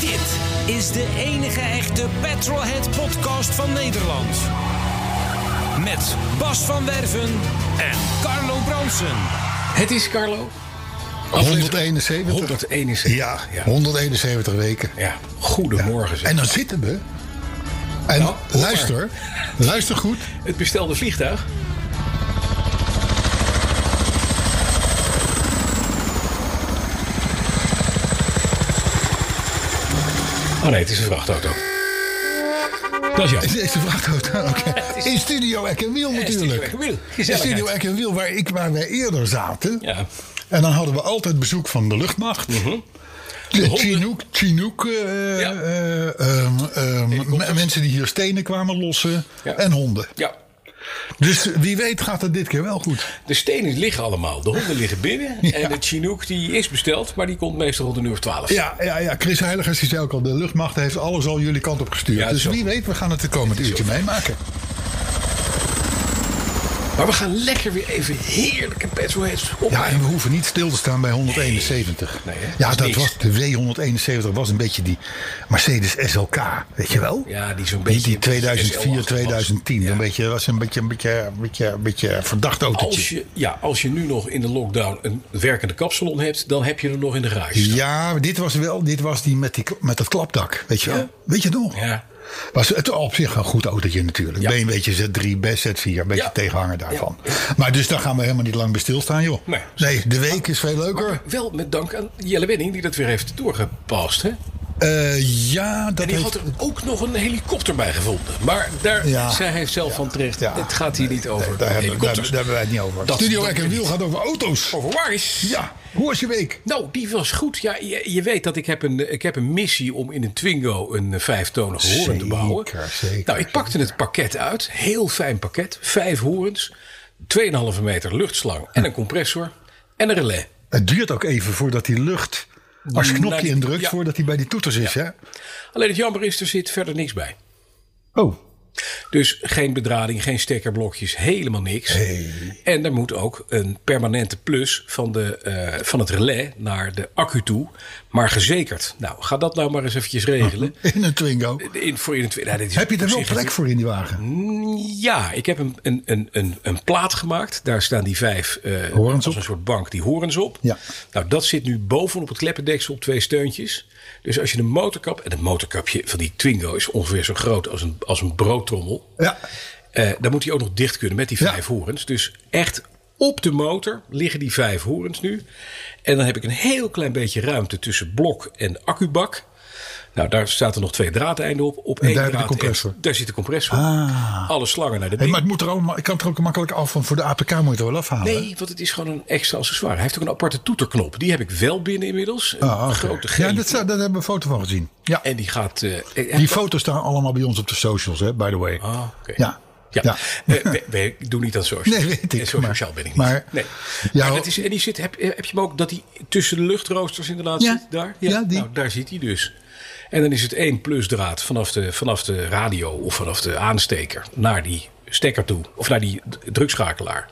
Dit is de enige echte Petrolhead podcast van Nederland. Met Bas van Werven en Carlo Bronsen. Het is Carlo. 171. 171. Ja, ja. 171 weken. Ja, Goedemorgen. zeg. En dan zitten we. En Nou, hoor luister, luister goed. Het bestelde vliegtuig. Oh nee, het is een vrachtauto. Dat is jammer. Deze vrachtauto. Oké. Het is- In Studio Eck en Wiel Ja, Studio natuurlijk. Eck en Wiel. In Gezelligheid. Studio Eck en Wiel, waar, ik, waar wij eerder zaten. Ja. Mhm. En dan hadden we altijd bezoek van de luchtmacht. De honden. Chinook, Chinook eh, Ja. eh, ehm, ehm, me- mensen die hier stenen kwamen lossen. Ja. En honden. Ja, Dus wie weet gaat het dit keer wel goed. de stenen liggen allemaal. De honden liggen binnen. En de Chinook die is besteld, maar die komt meestal rond een uur of twaalf. Ja, ja, ja, Chris Heiligers die zei ook al, de luchtmacht heeft alles al jullie kant op gestuurd. Ja, het is dus zo. wie weet, we gaan het de komende uurtje meemaken. Maar we gaan lekker weer even heerlijke petrolheads op. Ja, en we hoeven niet stil te staan bij 171. Nee, hè? Dat ja, is dat niks. was, de W171 was een beetje die Mercedes SLK, weet je wel? Ja, die zo'n Die, beetje... die 2004, SL-achtig was. 2010. Ja. Een beetje, dat was een beetje een, beetje, een beetje, een beetje een verdacht autootje. Als je, ja, als je nu nog in de lockdown een werkende kapsalon hebt, dan heb je er nog in de garage. staan. Ja, maar dit was wel, dit was die met, die, kla- met dat klapdak, weet je wel? Weet je het nog? Ja. Was het op zich een goed autootje natuurlijk. Ja. Ben je een beetje Z3, best Z4, een beetje Ja. tegenhanger daarvan. Maar dus daar gaan we helemaal niet lang bij stilstaan, joh. Nee. de week is veel leuker. Wel met dank aan Jelle Wenning die dat weer heeft doorgepast. Hè? En Eh, ja, dat die heeft- had er ook nog een helikopter bij gevonden. Maar daar Ja. zei hij zelf van terecht. Ja. Het gaat hier niet over Nee, daar, hebben, daar, daar helikopters. hebben wij het niet over. Dat- Studio dat Oh. Eck en weet Wiel ik. gaat over auto's. Over waar is? Ja, hoe was je week? Nou, die was goed. Ja, je, je weet dat ik heb, een, ik heb een missie om in een Twingo een eh, vijftonige hoorn te Zeker, bouwen. zeker, nou, ik pakte het pakket uit. Heel fijn pakket. Vijf hoorns, 2,5 meter luchtslang en een compressor en een relais. Het duurt ook even voordat die lucht, als je knopje Nou, die- indrukt, ja. voordat hij bij die toeters is. Hè? Alleen het jammer is, er zit verder niks bij. Oh, Dus geen bedrading, geen stekkerblokjes, helemaal niks. En er moet ook een permanente plus van, de, eh, van het relais naar de accu toe, maar gezekerd. Nou, ga dat nou maar eens eventjes regelen. in een Twingo. In, voor in het, nou, dit is Heb je er op wel zich plek voor in die wagen? Ja, ik heb een, een, een, een, een plaat gemaakt. Daar staan die vijf eh Horens als op. een soort bank, die horens op. Ja. Nou, dat zit nu bovenop het kleppendeksel op twee steuntjes. Dus als je een motorkap, en het motorkapje van die Twingo is ongeveer zo groot als een, als een broodtrommel. Ja. Eh, dan moet hij ook nog dicht kunnen met die Ja. vijf horens. Dus echt op de motor liggen die vijf horens nu. En dan heb ik een heel klein beetje ruimte tussen blok en accubak. Nou, daar staat er nog twee draadeinden op. op één daar heb je de draad- compressor. daar zit de compressor. Alle slangen naar de Ah. Hey, ding. maar het moet er ook, ik kan het er ook makkelijk af, want voor de APK moet je het er wel afhalen. Nee, want het is gewoon een extra accessoire. Hij heeft ook een aparte toeterknop. Die heb ik wel binnen inmiddels. Een Ah, oké. grote gele. Ja, dat, zou- daar hebben we een foto van gezien. Ja. En die gaat... eh, eh, Die foto's staan allemaal bij ons op de socials, hè, by the way. Ah, oké. Ja. Ja, Ja. Eh, we- we- ik doe niet aan social. Nee, weet ik, En Zo maar- sociaal ben ik niet. maar- nee. Ja, maar hoor. dat is, en die zit, heb, heb je hem ook dat die tussen de luchtroosters inderdaad Ja. zit? Daar? Ja, die. Nou, daar zit hij dus. En dan is het één plusdraad vanaf de, vanaf de radio of vanaf de aansteker naar die stekker toe. Of naar die d- drukschakelaar.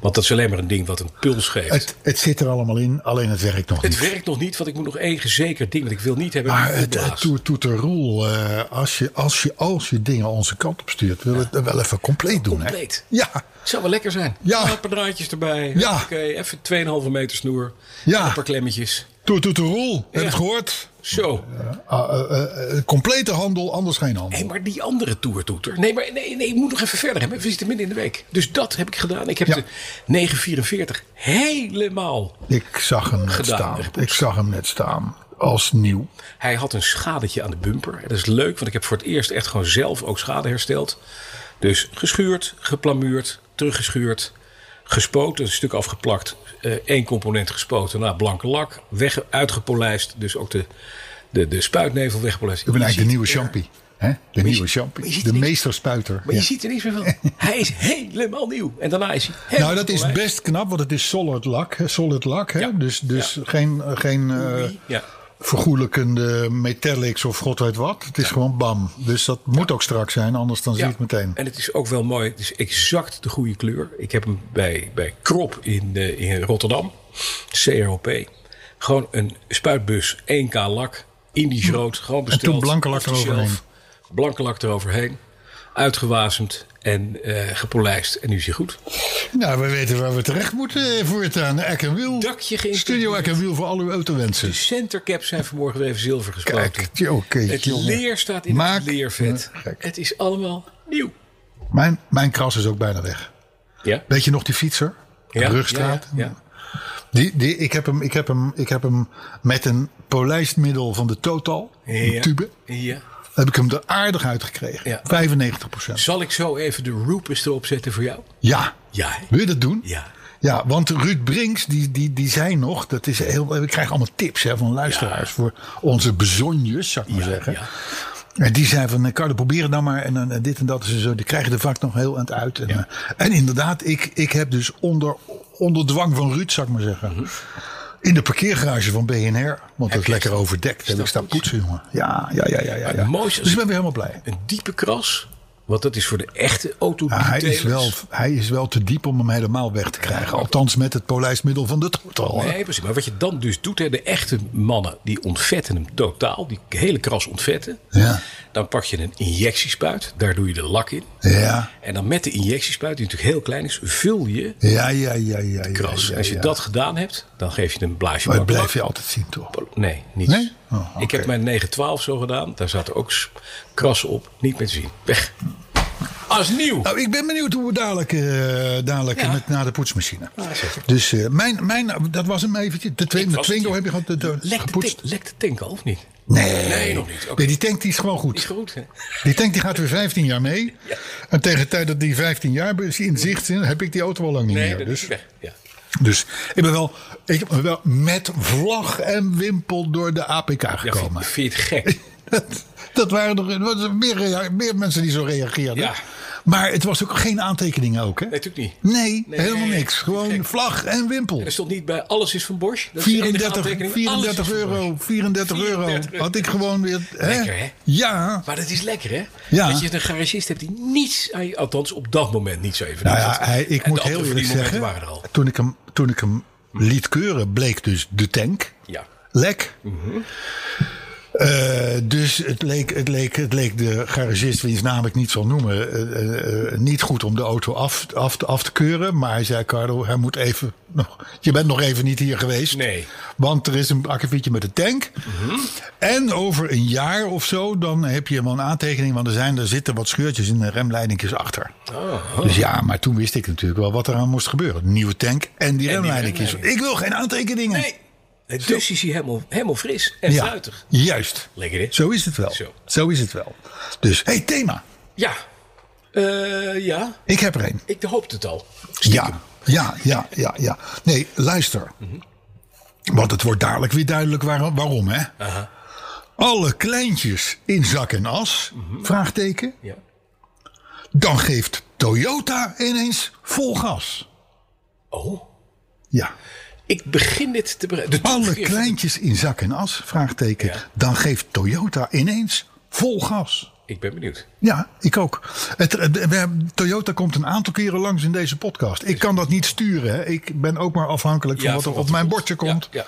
Want dat is alleen maar een ding wat een puls geeft. Het, Het, het zit er allemaal in, alleen het werkt nog niet. werkt nog niet, want ik moet nog één gezekerd ding. Want ik wil niet hebben. Maar die het, het opblaast. toet- toeterroel, eh, als, je, als, je, als je dingen onze kant op stuurt, wil het wel even compleet doen. hè? Compleet. Ja, Het zou wel lekker zijn. Ja. Een paar draadjes erbij. Ja. Oké, even 2,5 meter snoer. Ja. Een paar klemmetjes. Toet- toeterroel, heb je Ja. het gehoord? Zo. Ah, eh, eh, eh, complete handel, anders geen handel. Hé, maar die andere toertoeter. Nee, maar nee, nee, ik moet nog even verder hebben. We zitten midden in de week. Dus dat heb ik gedaan. Ik heb Ja. de 944 helemaal. Ik zag hem net Gedaan, staan. echt. Ik zag hem net staan. als nieuw. Hij had een schadetje aan de bumper. Dat is leuk, want ik heb voor het eerst echt gewoon zelf ook schade hersteld. Dus geschuurd, geplamuurd, teruggeschuurd, gespoten, een stuk afgeplakt, eh, één component gespoten, nou, blanke lak, weg, uitgepolijst. Dus ook de, de, de spuitnevel weggepolijst. Ik ben Je eigenlijk de nieuwe ziet er- champie. hè? De nieuwe maar je champie. ziet De niks. meesterspuiter. Maar je Ja. ziet er niks meer van. Hij is helemaal nieuw. En daarna is hij helemaal Nou, dat is polijst. best knap, want het is solid lak. hè, Solid lak, hè? Ja. Dus, dus geen, geen eh Ja. vergoelijkende metallics of god weet wat. Het is gewoon bam. Dus dat moet ook strak zijn, anders dan zie Ja, je het meteen. En het is ook wel mooi. Het is exact de goede kleur. Ik heb hem bij, bij Krop in, eh, in Rotterdam. CROP. Gewoon een spuitbus. 1K lak. Indisch rood. Gewoon besteld. toen blanke lak off the eroverheen. shelf. Blanke lak eroverheen. Uitgewazemd. En eh, gepolijst. En nu is hij goed. Nou, we weten waar we terecht moeten eh, voortaan. Eck en Wiel. Dakje geïnteresseerd. Studio Eck en Wiel voor al uw autowensen. De centercaps zijn vanmorgen weer even zilver gespoten. Kijk, tjoh, oké, het jongen. leer staat in Maak het leervet. me gek. Het is allemaal nieuw. Mijn, mijn kras is ook bijna weg. Ja? Weet je nog die fietser? De Ja, Brugstraat. ja, ja. Die, die, ik, heb hem, ik, heb hem, ik heb hem met een polijstmiddel van de Total, een Ja. tube, Ja. heb ik hem er aardig uitgekregen. Ja. 95 procent. Zal ik zo even de Rupus erop zetten voor jou? Ja. Ja, hè? Wil je dat doen? Ja. Ja, want Ruud Brinks, die, die, die zei nog, dat is heel, we krijgen allemaal tips hè, van luisteraars voor onze bezonjes, zou ik maar zeggen. ja. En die zei van, eh, Carlo, probeer het nou maar. En, dan, eh, dit en dat is en zo. Die krijgen de vak nog heel aan het uit. En, eh, en inderdaad, ik, ik heb dus onder, onder dwang van Ruud, zou ik maar zeggen. Hm. In de parkeergarage van BNR. Want dat is je lekker overdekt. En ik sta stapvoets? poetsen, jongen. Ja, ja, ja, ja. ja, ja. het mooiste Dus is- ik ben weer helemaal blij. Een diepe kras. Want dat is voor de echte auto Ja, hij, is wel, hij is wel te diep om hem helemaal weg te krijgen. Althans met het polijstmiddel van de total. hè. Nee, precies. Maar wat je dan dus doet, hè, de echte mannen die ontvetten hem totaal. Die hele kras ontvetten. Ja. Dan pak je een injectiespuit. Daar doe je de lak in. Ja. En dan met de injectiespuit, die natuurlijk heel klein is, vul je Ja, ja, ja, ja. ja, kras. ja, Als je ja. dat gedaan hebt, dan geef je een blaasje Maar dat blanke blijf je lak. altijd zien, toch? Nee, niets. Nee? Oh, oké. Ik heb mijn 912 zo gedaan. Daar zaten ook s- kras op. Niet meer te zien. Weg. Als nieuw. Nou, ik ben benieuwd hoe we dadelijk, eh, dadelijk Ja. met, naar de poetsmachine. zeker. dus eh, mijn, mijn, dat was hem eventjes. De Ik tweede was Twingo het. heb je gehad de- de- Lekt de, gepoetst. tank, lekt de tank al of niet? Nee. Nee, nog niet. Oké. Nee, die tank die is gewoon goed. Is goed, hè? Die tank die gaat weer 15 jaar mee. En tegen de tijd dat die 15 jaar in zicht is, heb ik die auto al lang niet meer. dat Dus, is weg. Ja. dus ik ben wel, ik ben wel met vlag en wimpel door de APK Ja, gekomen. vind, vind je het gek? Dat, dat waren er dat waren meer, rea- meer mensen die zo reageerden. Ja. Maar het was ook geen aantekeningen ook, hè? Nee, natuurlijk niet. Nee, Nee, helemaal nee, nee. niks. Gewoon Gek. Dus- vlag en wimpel. Er stond niet bij alles is van Bosch. Dat is de enige 34, aantekening. 34 Alles is van Bosch. euro, 34 euro. 34 euro. Had ik gewoon weer... Hè? Lekker, hè? Ja. Maar dat is lekker, hè? Ja. Dat je een garagist hebt die niets aan je... Althans, op dat moment niet zo even. Nou ja, hij, ik En moet de heel andere eerlijk drie momenten zeggen... waren er al. Hm. Toen, ik hem, toen ik hem liet keuren, bleek dus de tank. Ja. Mhm. Lek. Eh, dus het leek, het, leek, het leek de garagist, wiens naam ik niet zal noemen, eh, eh, eh, niet goed om de auto af, af, te- af te keuren. Maar hij zei, Carlo, hij moet even nog, je bent nog even niet hier geweest. Nee. Want er is een akkefietje met de tank. En over een jaar of zo, dan heb je wel een aantekening. Want er, zijn, er zitten wat scheurtjes in de remleidingjes achter. Dus ja, maar toen wist ik natuurlijk wel wat eraan moest gebeuren. Nieuwe tank en die remleidingjes. remleiding. Ik wil geen aantekeningen. Nee. Dus is hij helemaal, helemaal fris en fruitig. Juist. Lekker, hè? Zo is het wel. Zo. Zo, is het wel. Dus, hey, thema. Ja. Eh, ja. Ik heb er een. Ik hoopte het al. Ja, ja, ja, ja, ja. Nee, luister. Mhm. Want het wordt dadelijk weer duidelijk waar- waarom, hè? Alle kleintjes in zak en as, Mhm. vraagteken. Ja. Dan geeft Toyota ineens vol gas. Oh. Ja. Ik begin dit te begrijpen. De Alle terugkeer van de- kleintjes in zak en as, vraagteken. Ja. Dan geeft Toyota ineens vol gas. Ik ben benieuwd. Ja, ik ook. Het, het- we hebben- Toyota komt een aantal keren langs in deze podcast. Ik kan dat niet sturen. Hè. Ik ben ook maar afhankelijk van Ja, wat er van wat op er mijn komt. bordje komt. Ja,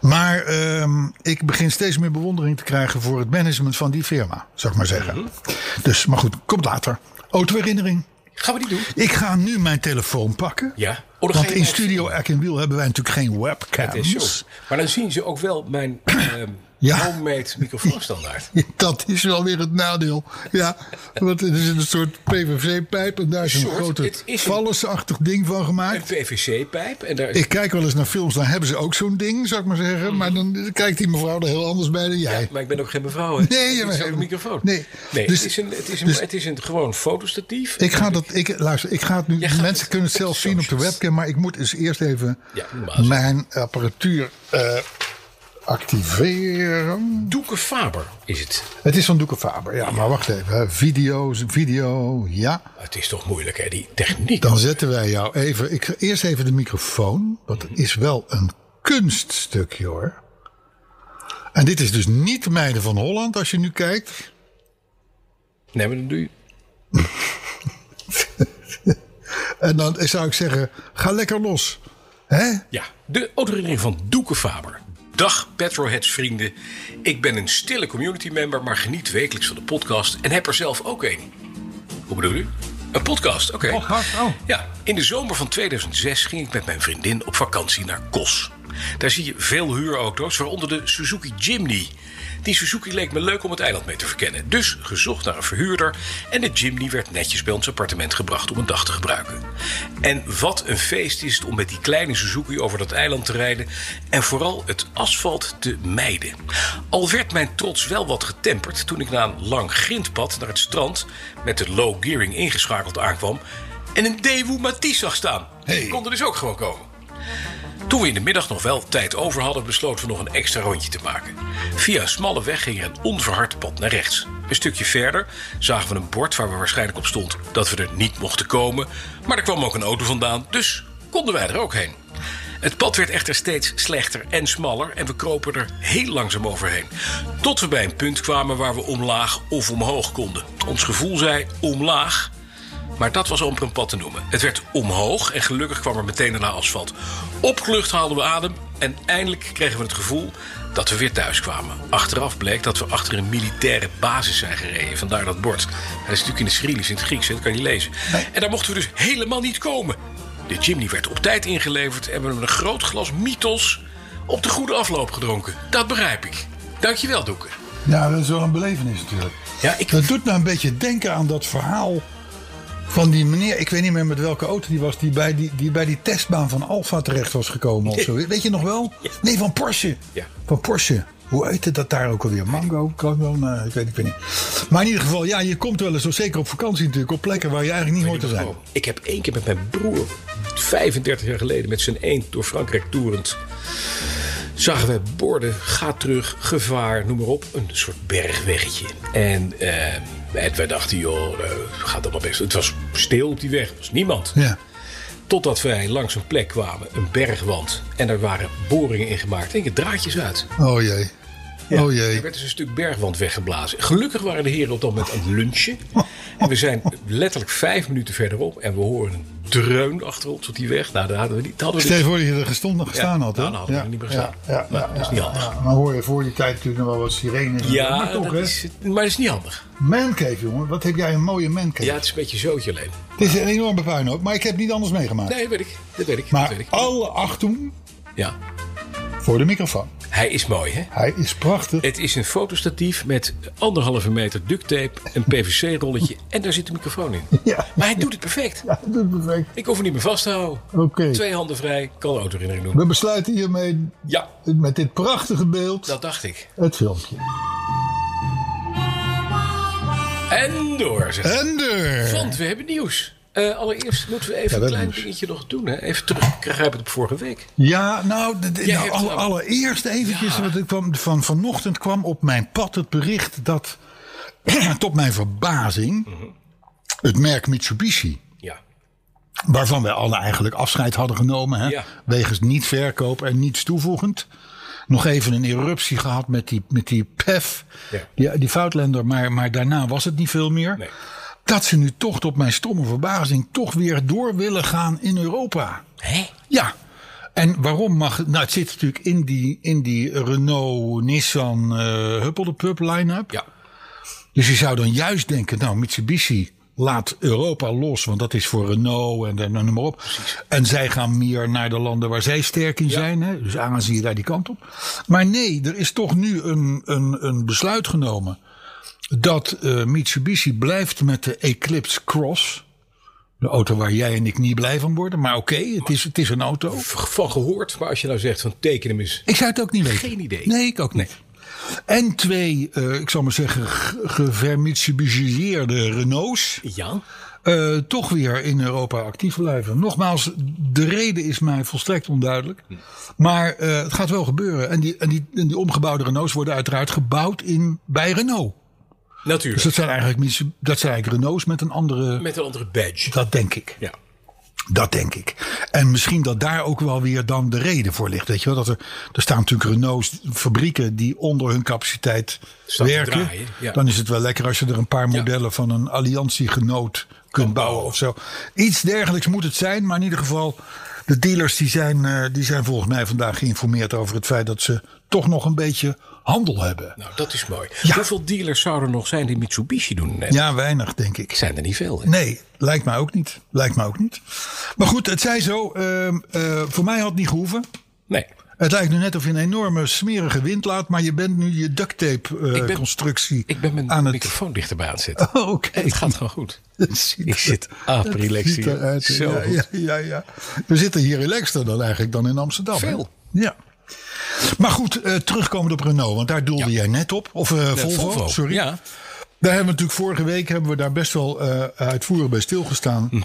Maar ehm, ik begin steeds meer bewondering te krijgen voor het management van die firma, zou ik maar zeggen. Mhm. Dus, maar goed, komt later. Autoherinnering. Gaan we die doen? Ik ga nu mijn telefoon pakken. Ja. Oh, dan ga Want je in live Studio Eck en Wiel hebben wij natuurlijk geen webcams. Het is zo. Maar dan zien ze ook wel mijn ehm Ja. homemade microfoon standaard. Dat is wel weer het nadeel. Ja, want er is een soort PVC-pijp en daar is een Soort, grote het is een- vallesachtig ding van Een gemaakt. PVC-pijp. En daar Ik kijk wel eens naar films, dan hebben ze ook zo'n ding, zou ik maar zeggen. Maar dan kijkt die mevrouw er heel anders bij dan jij. Mhm. Maar ik ben ook geen mevrouw. Hè? Nee, Het je is bent- ook een microfoon. nee. Dus- het, is een, het, is een, dus- het is een gewoon fotostatief. Ik ga dat, ik, luister, ik ga het nu, Jij gaat mensen het kunnen het op de zelf zien op de socials. webcam, maar ik moet dus eerst even Ja, normaal. mijn apparatuur eh, activeren. Doeke Faber is het. Het is van Doeke Faber, ja, maar wacht even. hè. Video's, video, ja. Het is toch moeilijk, hè, die techniek. Dan zetten wij jou even. Ik, eerst even de microfoon. Want het is wel een kunststukje hoor. En dit is dus niet Meiden van Holland als je nu kijkt. Nee, maar dan doe je... En dan zou ik zeggen, ga lekker los. Hè? Ja, de autorinering van Doeke Faber. Dag Petroheads vrienden. Ik ben een stille community member, maar geniet wekelijks van de podcast en heb er zelf ook een. Hoe bedoel u? Een podcast, oké. Podcast, oh. Ja, in de zomer van 2006 ging ik met mijn vriendin op vakantie naar Kos. Daar zie je veel huurauto's, waaronder de Suzuki Jimny. Die Suzuki leek me leuk om het eiland mee te verkennen. Dus gezocht naar een verhuurder en de Jimny werd netjes bij ons appartement gebracht om een dag te gebruiken. En wat een feest is het om met die kleine Suzuki over dat eiland te rijden en vooral het asfalt te mijden. Al werd mijn trots wel wat getemperd toen ik na een lang grindpad naar het strand met de low gearing ingeschakeld aankwam en een Dewoe Matisse zag staan. Die kon er dus ook gewoon komen. Toen we in de middag nog wel tijd over hadden, besloten we nog een extra rondje te maken. Via een smalle weg ging er een onverhard pad naar rechts. Een stukje verder zagen we een bord waar we waarschijnlijk op stond dat we er niet mochten komen. Maar er kwam ook een auto vandaan, dus konden wij er ook heen. Het pad werd echter steeds slechter en smaller en we kropen er heel langzaam overheen. Tot we bij een punt kwamen waar we omlaag of omhoog konden. Ons gevoel zei omlaag, maar dat was amper een pad te noemen. Het werd omhoog en gelukkig kwam er meteen daarna asfalt. Opgelucht haalden we adem en eindelijk kregen we het gevoel dat we weer thuis kwamen. Achteraf bleek dat we achter een militaire basis zijn gereden. Vandaar dat bord. Dat is natuurlijk in de Cyrillisch, in het Grieks, hè, dat kan je niet lezen. En daar mochten we dus helemaal niet komen. De Jimny werd op tijd ingeleverd en we hebben een groot glas mythos op de goede afloop gedronken. Dat begrijp ik. Dankjewel, Doeke. Ja, dat is wel een belevenis natuurlijk. Ja, ik Dat doet nou een beetje denken aan dat verhaal van die meneer. Ik weet niet meer met welke auto die was. Die bij die, die, bij die testbaan van Alfa terecht was gekomen of zo. Weet je nog wel? Nee, van Porsche. Ja. Van Porsche. Hoe heette dat daar ook alweer? Mango? Congo? Nou, ik weet, ik weet niet. Maar in ieder geval, ja, je komt wel eens, zo zeker op vakantie natuurlijk, op plekken waar je eigenlijk niet hoort te zijn. Oh, Ik heb één keer met mijn broer, 35 jaar geleden, met zijn eend door Frankrijk toerend. Zagen we borden, ga terug, gevaar, noem maar op. Een soort bergweggetje. En, eh, en wij dachten, joh, eh, gaat allemaal best. Het was stil op die weg, er was niemand. Ja. Totdat wij langs een plek kwamen, een bergwand. En er waren boringen in gemaakt. Denk het draadjes uit. Oh jee. Oh Er jee. werd dus een stuk bergwand weggeblazen. Gelukkig waren de heren op dat moment aan het lunchen. En we zijn letterlijk vijf minuten verderop en we horen een dreun achter ons op die weg. Nou, daar hadden we niet. Hadden we Stel je niet. voor dat je er gestonden, gestaan had. hè? nou, dan hadden we er niet meer gestaan. Ja, ja, Nou, ja, dat is ja, niet handig. ja. Maar hoor je voor die tijd natuurlijk nog wel wat sirenes. en zo. Ja, maar toch, dat hè? is, maar dat is niet handig. Mancave, jongen. Wat heb jij een mooie mancave. Ja, het is een beetje zootje alleen. Het is een enorme puinhoop, maar ik heb niet anders meegemaakt. Nee, weet ik. Dat weet ik. dat maar weet ik. alle achtung Ja. voor de microfoon. Hij is mooi, hè? Hij is prachtig. Het is een fotostatief met anderhalve meter duct tape, een PVC-rolletje en daar zit de microfoon in. Ja. Maar hij doet het perfect. Ja, dat is perfect. Ik hoef hem niet meer vast te houden. Oké. Twee handen vrij, kan de autoherinnering doen. We besluiten hiermee Ja, met dit prachtige beeld dat dacht ik. het filmpje. En door. zeg. En deur. Want we hebben nieuws. Eh, allereerst moeten we we even een hebben klein Eh. nieuws. dingetje nog doen. Hè? Even teruggrijpen op vorige week. Ja, nou, d- d- Jij nou hebt alle- wel- allereerst eventjes. Want ik kwam, van vanochtend kwam op mijn pad het bericht dat, tot mijn verbazing, Mhm. het merk Mitsubishi. Ja. waarvan wij alle eigenlijk afscheid hadden genomen. Hè? Ja. Wegens niet verkoop en niets toevoegend. Nog even een eruptie gehad met die, met die PEF, Ja. die, die Foutlander. Maar, maar daarna was het niet veel meer. Nee. Dat ze nu toch, tot mijn stomme verbazing, toch weer door willen gaan in Europa. Hé? Ja. En waarom mag het? Nou, het zit natuurlijk in die, in die Renault-Nissan eh Huppelde Pup line-up. Ja. Dus je zou dan juist denken, nou, Mitsubishi laat Europa los. Want dat is voor Renault en, en noem maar op. En zij gaan meer naar de landen waar zij sterk in zijn. Hè? Dus Azië daar die kant op. Maar nee, er is toch nu een, een, een besluit genomen. Dat eh, Mitsubishi blijft met de Eclipse Cross. De auto waar jij en ik niet blij van worden. Maar oké, het, is, het is een auto. Van gehoord, maar als je nou zegt van teken hem eens. Ik zou het ook niet weten. Geen idee. Nee, ik ook niet. En twee, eh, ik zal maar zeggen, g- gevermitsubsidieerde Renaults. Ja. eh, toch weer in Europa actief blijven. Nogmaals, de reden is mij volstrekt onduidelijk. Maar eh, het gaat wel gebeuren. En die, en, die, en die omgebouwde Renaults worden uiteraard gebouwd in, bij Renault. Dus Natuurlijk. dat zijn eigenlijk, Mitsu- dat zijn eigenlijk Renaults met een andere. Met een andere badge. Dat denk ik. Ja. Dat denk ik. En misschien dat daar ook wel weer dan de reden voor ligt. Weet je wel, dat er, er staan natuurlijk Renault's fabrieken die onder hun capaciteit Staan te werken. draaien, ja. Dan is het wel lekker als je er een paar Ja. modellen van een alliantiegenoot kunt bouwen of zo. Iets dergelijks moet het zijn, maar in ieder geval. De dealers die zijn, eh, die zijn volgens mij vandaag geïnformeerd over het feit dat ze toch nog een beetje handel hebben. Nou, dat is mooi. Ja. Hoeveel dealers zouden er nog zijn die Mitsubishi doen? Eh, Ja, weinig denk ik. Zijn er niet veel. hè? Nee, lijkt mij ook niet. Lijkt mij ook niet. Maar goed, het zij zo. ehm, eh, voor mij had het niet gehoeven. nee. Het lijkt nu net of je een enorme smerige wind laat, maar je bent nu je duct tape eh, Ik ben- constructie Ik ben mijn aan het. microfoon dichterbij aan het zetten. Oh, Oké, Het gaat gewoon goed. Het ziet Ik er- zit aap het relaxed ziet hier. eruit. Zo Ja, goed. ja, ja, ja. We zitten hier relaxter dan eigenlijk dan in Amsterdam. hè? Veel. Ja. Maar goed, eh, terugkomend op Renault, want daar doelde Ja. jij net op. Of eh, Eh, Volvo, Volvo, sorry. Ja. Daar hebben we natuurlijk vorige week hebben we daar best wel eh, uitvoerig bij stilgestaan. Hm.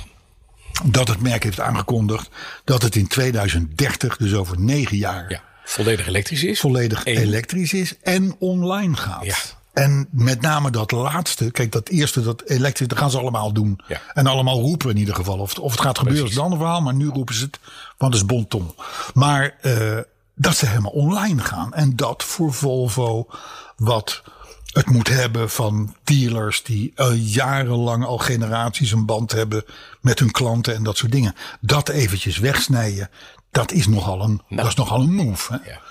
Dat het merk heeft aangekondigd dat het in 2030, dus over negen jaar, ja. Volledig elektrisch is. volledig Eén. elektrisch is en online gaat. Ja. En met name dat laatste, kijk, dat eerste, dat elektrisch, dat gaan ze allemaal doen. Ja. En allemaal roepen in ieder geval. Of, of het gaat gebeuren is een ander verhaal, maar nu roepen ze het, want het is bonton. Maar eh, dat ze helemaal online gaan. En dat voor Volvo wat het moet hebben van dealers die eh, jarenlang al generaties een band hebben met hun klanten en dat soort dingen. Dat eventjes wegsnijden, dat is nogal een, dat is nogal een move. Hè? Nou. Ja.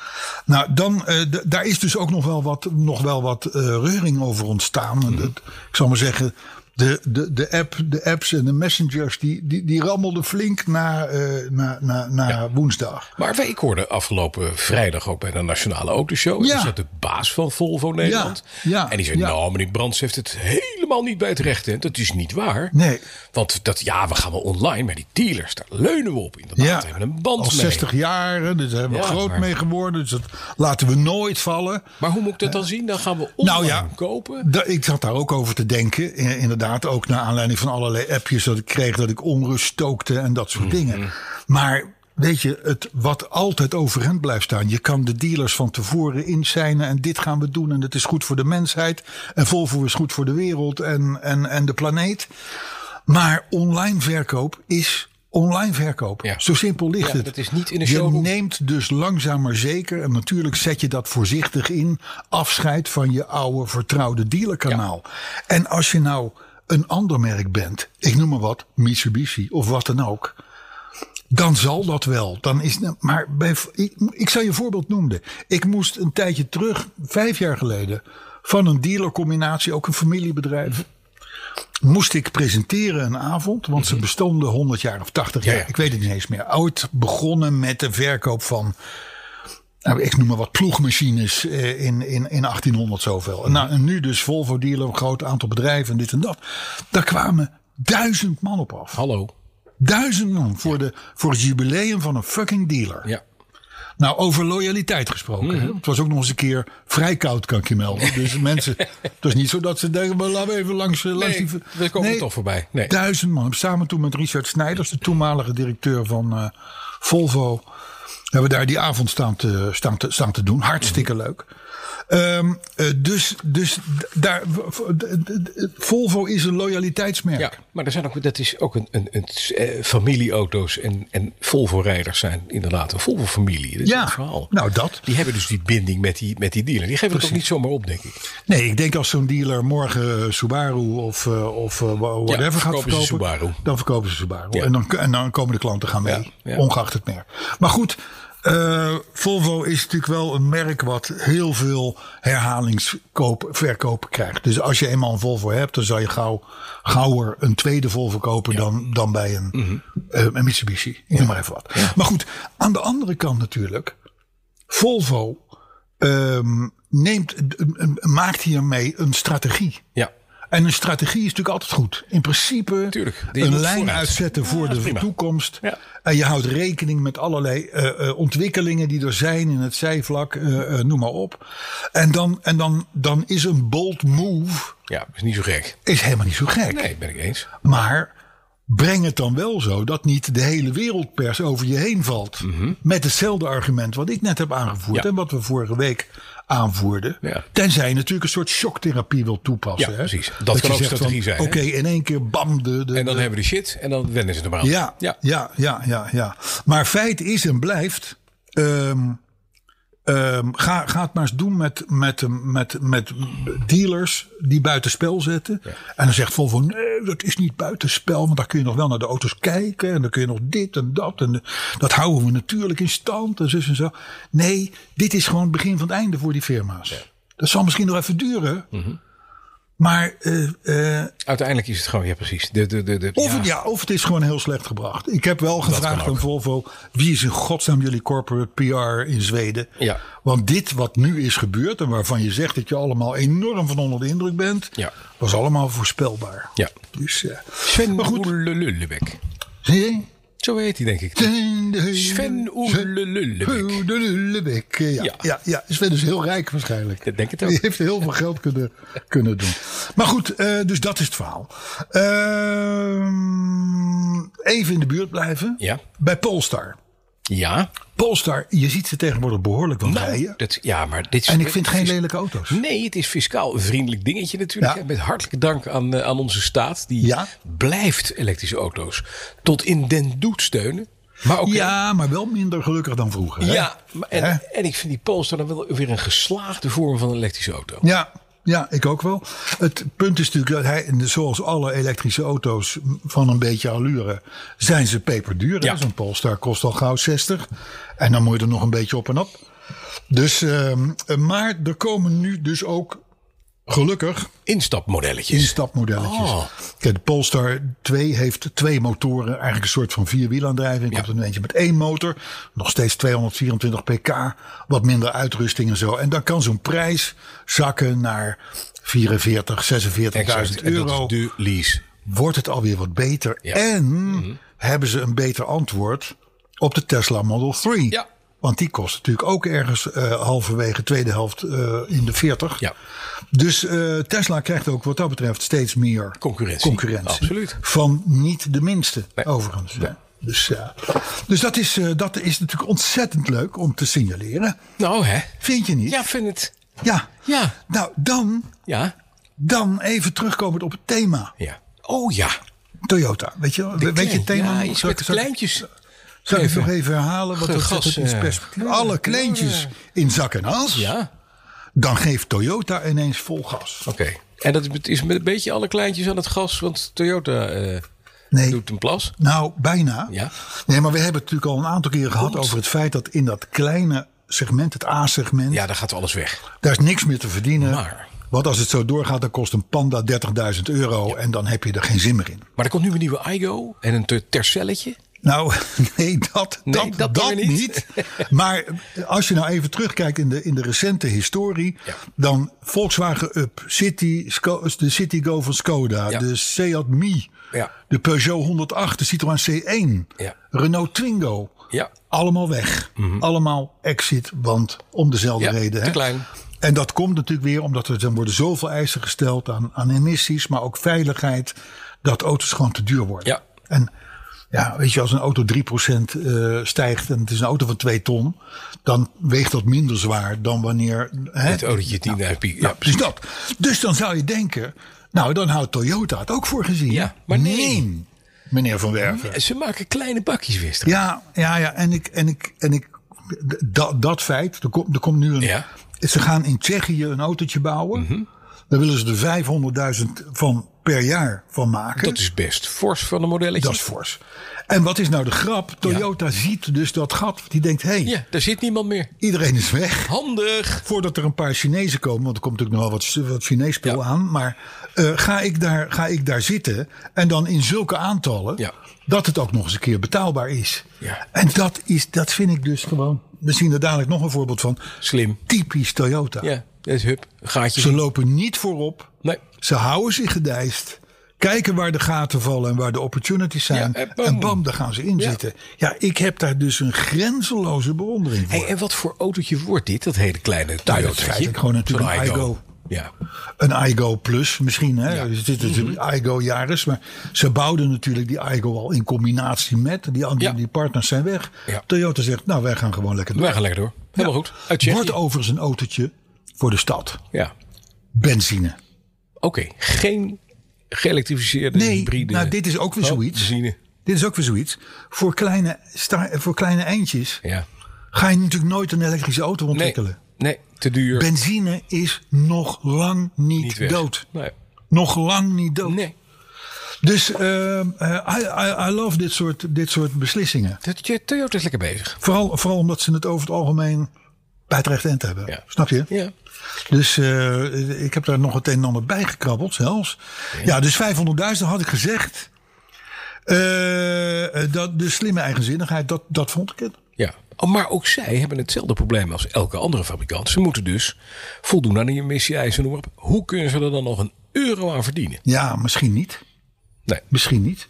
Nou, dan, eh, d- daar is dus ook nog wel wat, nog wel wat eh, reuring over ontstaan. Mhm. En dat- ik zal maar zeggen, de, de, de, app, de apps en de messengers, die, die, die rammelden flink na, eh, na, na, na woensdag. Maar wij- ik hoorde afgelopen vrijdag ook bij de Nationale Autoshow. Ja. Ja. Is dat de baas van Volvo Nederland? Ja, ja, En die zei, ja. nou meneer Brands heeft het helemaal niet bij het rechte. Dat is niet waar. Nee. Want dat, ja, we gaan wel online, maar die dealers, daar leunen we op. Inderdaad, we hebben een band Nou, al mee. 60 jaar, hè, dus daar hebben we Ja, groot maar- mee geworden. Dus dat laten we nooit vallen. Maar hoe moet ik Eh, dat dan zien? Dan gaan we nou online kopen. da- ik zat daar ook over te denken. I- Inderdaad, ook naar aanleiding van allerlei appjes dat ik kreeg dat ik onrust stookte en dat soort dingen. Maar weet je, het, wat altijd overeind blijft staan. Je kan de dealers van tevoren inzijnen en dit gaan we doen en het is goed voor de mensheid. En Volvo is goed voor de wereld en, en, en de planeet. Maar online verkoop is online verkoop. Ja. Zo simpel ligt Ja, het. dat is niet in een Je showroom. neemt dus langzaam maar zeker, en natuurlijk zet je dat voorzichtig in, afscheid van je oude vertrouwde dealerkanaal. En als je nou een ander merk bent, ik noem maar wat, Mitsubishi of wat dan ook. Dan zal dat wel. Dan is, maar bij, ik, ik zal je een voorbeeld noemen. Ik moest een tijdje terug, vijf jaar geleden, van een dealercombinatie, ook een familiebedrijf, moest ik presenteren een avond. Want ze bestonden 100 jaar of 80 jaar. Mhm. Ja, ja. Ik weet het niet eens meer. Ooit begonnen met de verkoop van. Nou, ik noem maar wat ploegmachines eh, in, in, in 1800 zoveel. Mhm. Nou, en nu dus Volvo dealer, een groot aantal bedrijven en dit en dat. Daar kwamen duizend man op af. Hallo. Duizend man voor, de, voor het jubileum van een fucking dealer. Ja. Mhm. Nou, over loyaliteit gesproken. hè. Het was ook nog eens een keer vrij koud, kan ik je melden. Dus mensen, het is niet zo dat ze denken, maar laten we even langs, eh, langs Nee, die... we komen toch voorbij. Nee. Duizend man. Samen toen met Richard Snijders, de toenmalige directeur van eh, Volvo... hebben we daar die avond staan te, staan te, staan te doen. Hartstikke Mhm. leuk. Ehm, eh, dus dus d- daar, v- d- d- d- Volvo is een loyaliteitsmerk. Ja, maar er zijn ook, dat is ook een, een, een eh, familieauto's en, en Volvo-rijders zijn inderdaad een Volvo-familie. Dat is Ja, het verhaal. nou, dat. Die hebben dus die binding met die, met die dealer. Die geven het ook niet zomaar op, denk ik. Nee, ik denk als zo'n dealer morgen eh, Subaru of, eh, of eh, whatever Ja, gaat verkopen ze verkopen. Subaru. Dan verkopen ze Subaru. Ja. En, dan, en dan komen de klanten gaan mee. Ja, ja. Ongeacht het merk. Maar goed, Eh, Volvo is natuurlijk wel een merk wat heel veel herhalingsverkoop krijgt. Dus als je eenmaal een Volvo hebt, dan zal je gauw, gauwer een tweede Volvo kopen dan, dan bij een, Mhm. eh, een Mitsubishi. Ik noem maar even wat. Maar goed, aan de andere kant natuurlijk. Volvo ehm, neemt, eh, maakt hiermee een strategie. Ja. En een strategie is natuurlijk altijd goed. In principe Tuurlijk, die een moet lijn vooruit. uitzetten voor de prima. toekomst. Ja. En je houdt rekening met allerlei eh, eh, ontwikkelingen die er zijn in het zijvlak, eh, eh, noem maar op. En, dan, en dan, dan is een bold move Ja, is niet zo gek. is helemaal niet zo gek. Nee, ben ik eens. Maar breng het dan wel zo dat niet de hele wereldpers over je heen valt. Met hetzelfde argument wat ik net heb aangevoerd Mhm. Ja. en wat we vorige week aanvoerden. Ja. Tenzij je natuurlijk een soort shocktherapie wil toepassen. Ja, hè? precies. Dat je kan ook zegt strategie van, zijn, hè? Oké, in één keer bam. De, de, En dan hebben we de shit en dan wennen ze er maar aan. ja, ja, ja, ja, ja, Maar feit is en blijft. ehm, ehm, ga, ga het maar eens doen met, met, met, met dealers die buitenspel zetten. En dan zegt Volvo: nee, dat is niet buitenspel. Want dan kun je nog wel naar de auto's kijken. En dan kun je nog dit en dat. En dat houden we natuurlijk in stand. En zus en zo. Nee, dit is gewoon het begin van het einde voor die firma's. Dat zal misschien nog even duren. Maar eh, eh, Uiteindelijk is het gewoon, ja precies. De, de, de, de, of, Het, ja, of het is gewoon heel slecht gebracht. Ik heb wel gevraagd kan ook. aan Volvo: wie is in godsnaam jullie corporate PR in Zweden? Ja. Want dit wat nu is gebeurd en waarvan je zegt dat je allemaal enorm van onder de indruk bent, Ja. was allemaal voorspelbaar. Ja. Dus, eh, Sven maar goed. Oerlelullebek. Zie je? Zo heet hij denk ik. Sven Oerlelullebek. Oerlullebeek. eh, Ja, Ja. ja. Ja, Sven is heel rijk waarschijnlijk. Ik denk het ook. Die heeft heel veel geld kunnen, kunnen doen. Maar goed, eh, dus dat is het verhaal. Ehm, even in de buurt blijven. Ja. Bij Polestar. Ja. Polestar, je ziet ze tegenwoordig behoorlijk wat rijden. Nou, Dat, ja, maar dit is... En ik vind geen het is- lelijke auto's. Nee, het is fiscaal een vriendelijk dingetje natuurlijk. Ja. hè. Met hartelijke dank aan, eh, aan onze staat. Die Ja. blijft elektrische auto's tot in den doet steunen. Maar ook Ja, maar wel minder gelukkig dan vroeger. hè? Ja, maar Hè? en, en ik vind die Polestar dan wel weer een geslaagde vorm van een elektrische auto. Ja, ja, ik ook wel. Het punt is natuurlijk dat hij, zoals alle elektrische auto's van een beetje allure, zijn ze peperduur. hè. Ja. Zo'n Polestar kost al gauw 60. En dan moet je er nog een beetje op en op. Dus, ehm, maar er komen nu dus ook gelukkig Instapmodelletjes. instapmodelletjes. Oh. Kijk, de Polestar 2 heeft twee motoren. Eigenlijk een soort van vierwielaandrijving. Je Ja. hebt een eentje met één motor. Nog steeds 224 pk. Wat minder uitrusting en zo. En dan kan zo'n prijs zakken naar 44, 46.000 Exact. En dat euro. is de lease. Wordt het alweer wat beter. Ja. Mhm. En hebben ze een beter antwoord op de Tesla Model 3. Ja. Want die kost natuurlijk ook ergens eh, halverwege tweede helft eh, in de 40. Ja. Dus eh, Tesla krijgt ook wat dat betreft steeds meer Concurrentie. Absoluut. Van niet de minste, Nee. overigens. Dus, ja. dus dat, is, eh, dat is natuurlijk ontzettend leuk om te signaleren. Nou hè. Vind je niet? Ja, vind het. Ja. Ja. Nou, dan, Ja. dan even terugkomend op het thema. Ja. Oh ja. Toyota. Weet je, wel? De weet je het klein- thema? Ja, iets Zal ik- met de zal ik- kleintjes. Zal ik het Even. nog even herhalen? Want dat Gas, zet het in eh, perspectief. Alle kleintjes in zak en as. Ja. Dan geeft Toyota ineens vol gas. Oké. En dat is met een beetje alle kleintjes aan het gas, want Toyota eh, Nee. doet een plas. Nou, bijna. Ja. Nee, maar we hebben het natuurlijk al een aantal keren gehad over het feit dat in dat kleine segment, het A-segment, Ja, daar gaat alles weg. daar is niks meer te verdienen. Maar- Want als het zo doorgaat, dan kost een Panda 30.000 euro en dan heb je er geen zin meer in. Maar er komt nu een nieuwe Igo en een te- tercelletje. Nou, nee, dat, Nee, dat, dat dat, weer niet. niet. Maar als je nou even terugkijkt in de, in de recente historie. Ja. dan Volkswagen Up, City, Sco- de Citigo van Skoda, Ja. de Seat Mi, Ja. de Peugeot 108, de Citroën C1, Ja. Renault Twingo. Ja. Mhm. Allemaal weg. Allemaal exit, want om dezelfde Ja, reden. te hè. klein. En dat komt natuurlijk weer omdat er dan worden zoveel eisen gesteld aan, aan emissies, maar ook veiligheid, dat auto's gewoon te duur worden. Ja. En ja, weet je, als een auto 3% eh, stijgt en het is een auto van 2 ton, dan weegt dat minder zwaar dan wanneer. Hè, Het autootje 10.000 piek. Ja, ja, precies dat. Dus dan zou je denken, nou, dan houdt Toyota het ook voor gezien. Ja, maar nee. meneer Van Werven. Ze maken kleine bakjes, wist je. Ja, ja, ja. En ik, en ik, en ik, dat, dat feit, er komt, er komt nu een. Ja. Mhm. Ze gaan in Tsjechië een autootje bouwen. Daar willen ze er 500.000 van per jaar van maken. Dat is best fors van een modelletje. Dat is fors. En wat is nou de grap? Toyota ziet dus dat gat. Die denkt, hé, hey, Ja, daar zit niemand meer. iedereen is weg. Handig. Voordat er een paar Chinezen komen, want er komt natuurlijk nogal wat, wat Chinees spul Ja. aan. Maar eh, ga, ik daar, ga ik daar zitten en dan in zulke aantallen Ja. dat het ook nog eens een keer betaalbaar is. Ja. En dat, is, dat vind ik dus gewoon, we zien er dadelijk nog een voorbeeld van, Slim. typisch Toyota. Ja, dat is hup. Gaatje. Ze lopen niet voorop. Nee. Ze houden zich gedijst. Kijken waar de gaten vallen en waar de opportunities zijn. Ja, en en, bam. bam. daar gaan ze in Ja. zitten. Ja, ik heb daar dus een grenzeloze bewondering voor. Hey, en wat voor autootje wordt dit? Dat hele kleine Nou, dat is Toyota. feitelijk gewoon natuurlijk een iGo. Ja. Een iGo Plus misschien. Hè? Ja. Mhm. Dus dit is een iGo Jaris. Maar ze bouwden natuurlijk die iGo al in combinatie met. Die, andere, Ja. die partners zijn weg. Ja. Toyota zegt, nou wij gaan gewoon lekker door. Wij gaan lekker door. Helemaal goed. Uit Tsjechië. Wordt overigens een autootje voor de stad. Ja. Benzine. Oké. Geen geëlektrificeerde Nee, hybride. nou dit is ook weer Oh, zoiets. benzine. Dit is ook weer zoiets. Voor kleine, sta- voor kleine eindjes Ja. ga je natuurlijk nooit een elektrische auto Nee. ontwikkelen. Nee. Te duur. Benzine is nog lang niet, Niet weg. dood. Nee. Nog lang niet dood. Nee. Dus ehm, eh, I, I, I love dit soort, dit soort beslissingen. Dat- je- Toyota is lekker bezig. Vooral, vooral omdat ze het over het algemeen bij het rechte eind hebben. Ja. Snap je? Ja. Dus eh, ik heb daar nog het een en ander bij gekrabbeld zelfs. Ja, dus 500.000 had ik gezegd. Eh, dat, de slimme eigenzinnigheid, dat, dat vond ik het. Ja. Oh, Maar ook zij hebben hetzelfde probleem als elke andere fabrikant. Ze moeten dus voldoen aan die emissie-eisen. noem maar op. Hoe kunnen ze er dan nog een euro aan verdienen? Ja, misschien niet. Nee. Misschien niet.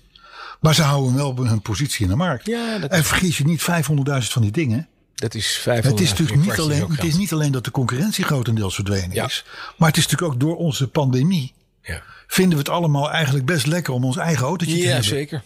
Maar ze houden wel hun positie in de markt. Ja, dat- En vergis je niet, 500.000 van die dingen. Dat is 500 Het is natuurlijk niet kwartjes alleen, ook het is geld. niet alleen dat de concurrentie grotendeels verdwenen Ja. is. Maar het is natuurlijk ook door onze pandemie. Ja, Vinden we het allemaal eigenlijk best lekker om ons eigen autootje te ja hebben. zeker.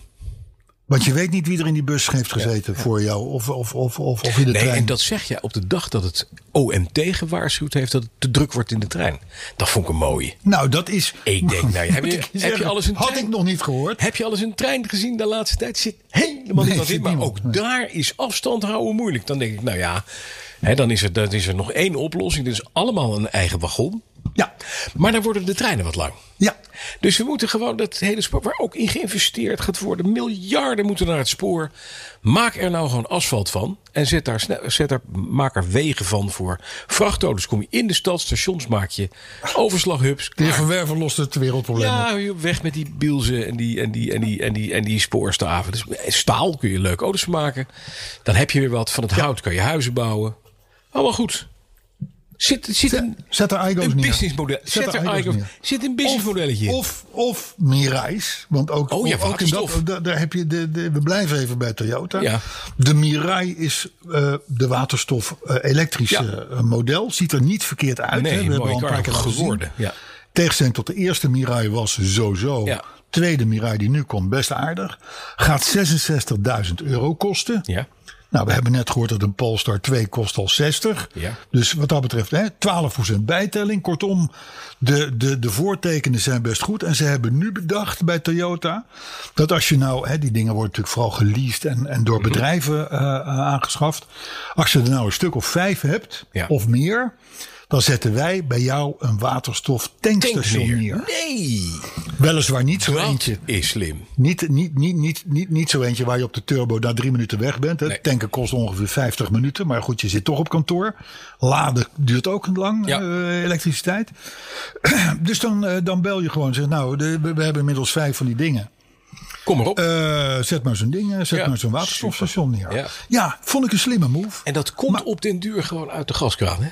Want je weet niet wie er in die bus heeft gezeten voor jou. Of, of, of, of, of in de Nee, trein. en dat zeg je op de dag dat het OMT gewaarschuwd heeft dat het te druk wordt in de trein. Dat vond ik een mooie. Nou, dat is. Ik denk, nou, heb Moet je- ik heb je zeggen, alles in Had trein? ik nog niet gehoord. Heb je al eens een trein gezien de laatste tijd? Zit helemaal Nee, niemand zit in. Maar niemand, ook nee. daar is afstand houden moeilijk. Dan denk ik, nou ja, hè, dan, is er, dan is er nog één oplossing. Dus allemaal een eigen wagon. Ja. Maar dan worden de treinen wat lang. Ja. Dus we moeten gewoon dat hele spoor, waar ook in geïnvesteerd gaat worden, miljarden moeten naar het spoor. Maak er nou gewoon asfalt van en zet daar, sne- zet daar, maak er wegen van voor vrachtauto's. Kom je in de stad, stations maak je, overslaghubs. De heer Van Werven lost het wereldprobleem op. Ja, joh, weg met die bielzen en die, en die, en die, en die, en die spoorstaven. Dus staal kun je leuk auto's van maken. Dan heb je weer wat. Van het hout kan je huizen bouwen. Allemaal goed. Zit, zit een, Zet er Igo's een neer. businessmodel. Zet, er Igo's Igo's- neer. Zit een businessmodelletje in. Of, of Mirais. Want ook, Oh ja, ook in waterstof. dat, da- daar heb je de, de, we blijven even bij Toyota. Ja. De Mirai is eh, de waterstof eh, elektrische Ja. eh, model. Ziet er niet verkeerd uit. Nee, hè. We hebben mooie al een kar paar keer laten zien. geworden, ja. Tegenstelling tot de eerste Mirai was sowieso. Ja. Tweede Mirai die nu komt best aardig. Gaat 66.000 euro kosten. Ja. Nou, we hebben net gehoord dat een Polestar 2 kost al 60. Ja. Dus wat dat betreft hè, 12% bijtelling. Kortom, de, de, de voortekenen zijn best goed. En ze hebben nu bedacht bij Toyota... dat als je nou... Hè, die dingen worden natuurlijk vooral geleased... en, en Mhm. door bedrijven eh, eh, aangeschaft. Als je er nou een stuk of vijf hebt Ja. of meer... dan zetten wij bij jou een waterstof tankstation Tankmeer. neer. Nee. Weliswaar niet zo Dat eentje. is slim. Niet, niet, niet, niet, niet, niet zo eentje waar je op de turbo na drie minuten weg bent. Hè. Nee. Tanken kost ongeveer 50 minuten. Maar goed, je zit toch op kantoor. Laden duurt ook lang, Ja. eh, elektriciteit. dus dan, eh, dan bel je gewoon en zeg nou, de- we, we hebben inmiddels vijf van die dingen. Kom maar op. Eh, zet maar zo'n ding, eh, zet Ja, maar zo'n waterstofstation neer. Ja. Ja. vond ik een slimme move. en dat komt maar- op den duur gewoon uit de gaskraan. Hè?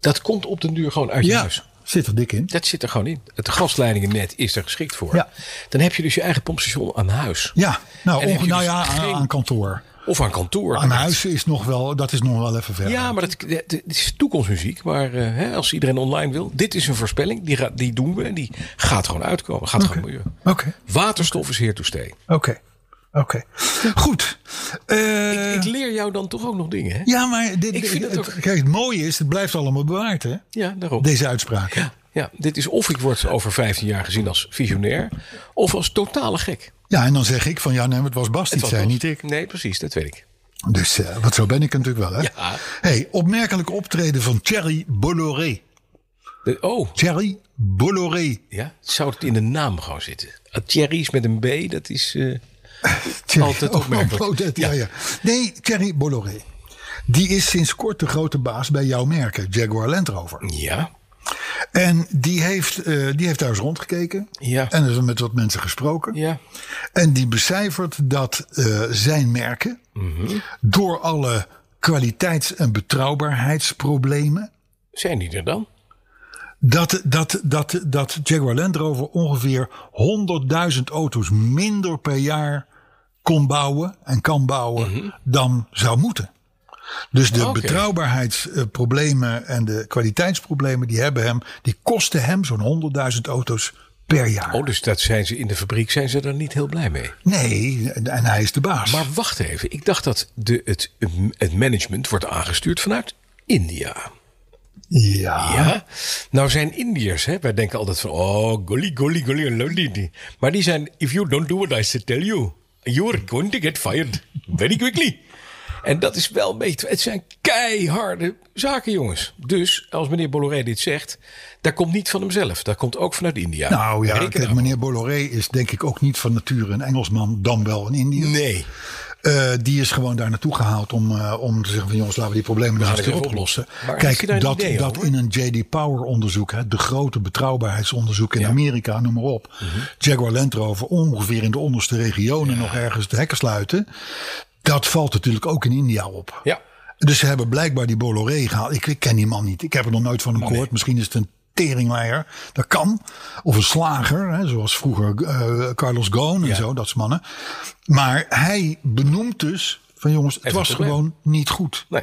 Dat komt op den duur gewoon uit je ja, huis. zit er dik in. Dat zit er gewoon in. Het gasleidingennet is er geschikt voor. Ja. Dan heb je dus je eigen pompstation aan huis. Ja, nou, En heb onge- je nou dus ja, aan, geen- aan kantoor. Of aan kantoor. Aan huis is nog wel, dat is nog wel even verder. Ja, maar dat, dat- dat is toekomstmuziek. Maar eh, hè, als iedereen online wil. Dit is een voorspelling. Die, gaat, die doen we. En die gaat gewoon uitkomen. Gaat Oké. gewoon gebeuren. Oké. Waterstof is here to stay. Oké. Oké. Goed. Eh, Ik leer jou dan toch ook nog dingen. Hè? ja, maar dit, Ik vind het, het ook- kijk, het mooie is, het blijft allemaal bewaard, hè? Ja, daarom. Deze uitspraak. Ja. Ja, dit is of ik word over 15 jaar gezien als visionair. Of als totale gek. en dan zeg ik van ja, nee, maar het was Bas, die het was zei, dat. niet ik. Nee, precies. Dat weet ik. Dus eh, wat zo ben ik natuurlijk wel, hè? Ja. Hey, opmerkelijk optreden van Thierry Bolloré. De, oh, Thierry Bolloré. ja. Zou het in de naam gewoon zitten? Ah, Thierry is met een B, dat is. eh, Thierry- Altijd oh, opmerkelijk. oh, dat- ja, ja. Nee, Thierry Bolloré. Die is sinds kort de grote baas bij jouw merken, Jaguar Land Rover. ja. En die heeft, eh, die heeft daar eens rondgekeken. Ja. En is er met wat mensen gesproken. Ja. En die becijfert dat eh, zijn merken door alle kwaliteits- en betrouwbaarheidsproblemen. Zijn die er dan? Dat, dat, dat, dat Jaguar Land Rover ongeveer 100.000 auto's minder per jaar kon bouwen en kan bouwen dan zou moeten. Dus de Mhm. Oké. betrouwbaarheidsproblemen en de kwaliteitsproblemen die hebben hem, die kosten hem zo'n 100.000 auto's per jaar. Oh, dus dat zijn ze in de fabriek zijn ze daar niet heel blij mee. Nee, en en hij is de baas. Maar wacht even, ik dacht dat de, het, het management wordt aangestuurd vanuit India. ja. Ja, nou zijn Indiërs, hè, wij denken altijd van, oh, golly, golly, golly, golly, golly. Maar die zijn, if you don't do what I say, tell you, you're going to get fired very quickly. En dat is wel een beetje, het zijn keiharde zaken, jongens. Dus, als meneer Bolloré dit zegt, dat komt niet van hemzelf. Dat komt ook vanuit India. Nou ja, Reken kijk, nou. meneer Bolloré is denk ik ook niet van nature een Engelsman, dan wel een Indiër. Nee. Eh, die is gewoon daar naartoe gehaald om, eh, om te zeggen van jongens, laten we die problemen nog gaan eens een het keer even oplossen. oplossen. Maar heeft hij daar Kijk, een dat, idee dat over? in een J.D. Power onderzoek, hè, de grote betrouwbaarheidsonderzoek in Amerika, noem maar op. Mhm. Jaguar Land Rover ongeveer in de onderste regionen nog ergens de hekken sluiten. Dat valt natuurlijk ook in India op. Ja. Dus ze hebben blijkbaar die Bolloré gehaald. Ik, ik ken die man niet. Ik heb er nog nooit van hem Oh, gehoord. Misschien is het een teringleier. Dat kan. Of een slager. Hè, zoals vroeger eh, Carlos Ghosn en zo. Dat soort mannen. Maar hij benoemt dus van jongens, het Even was een probleem. gewoon niet goed. nee.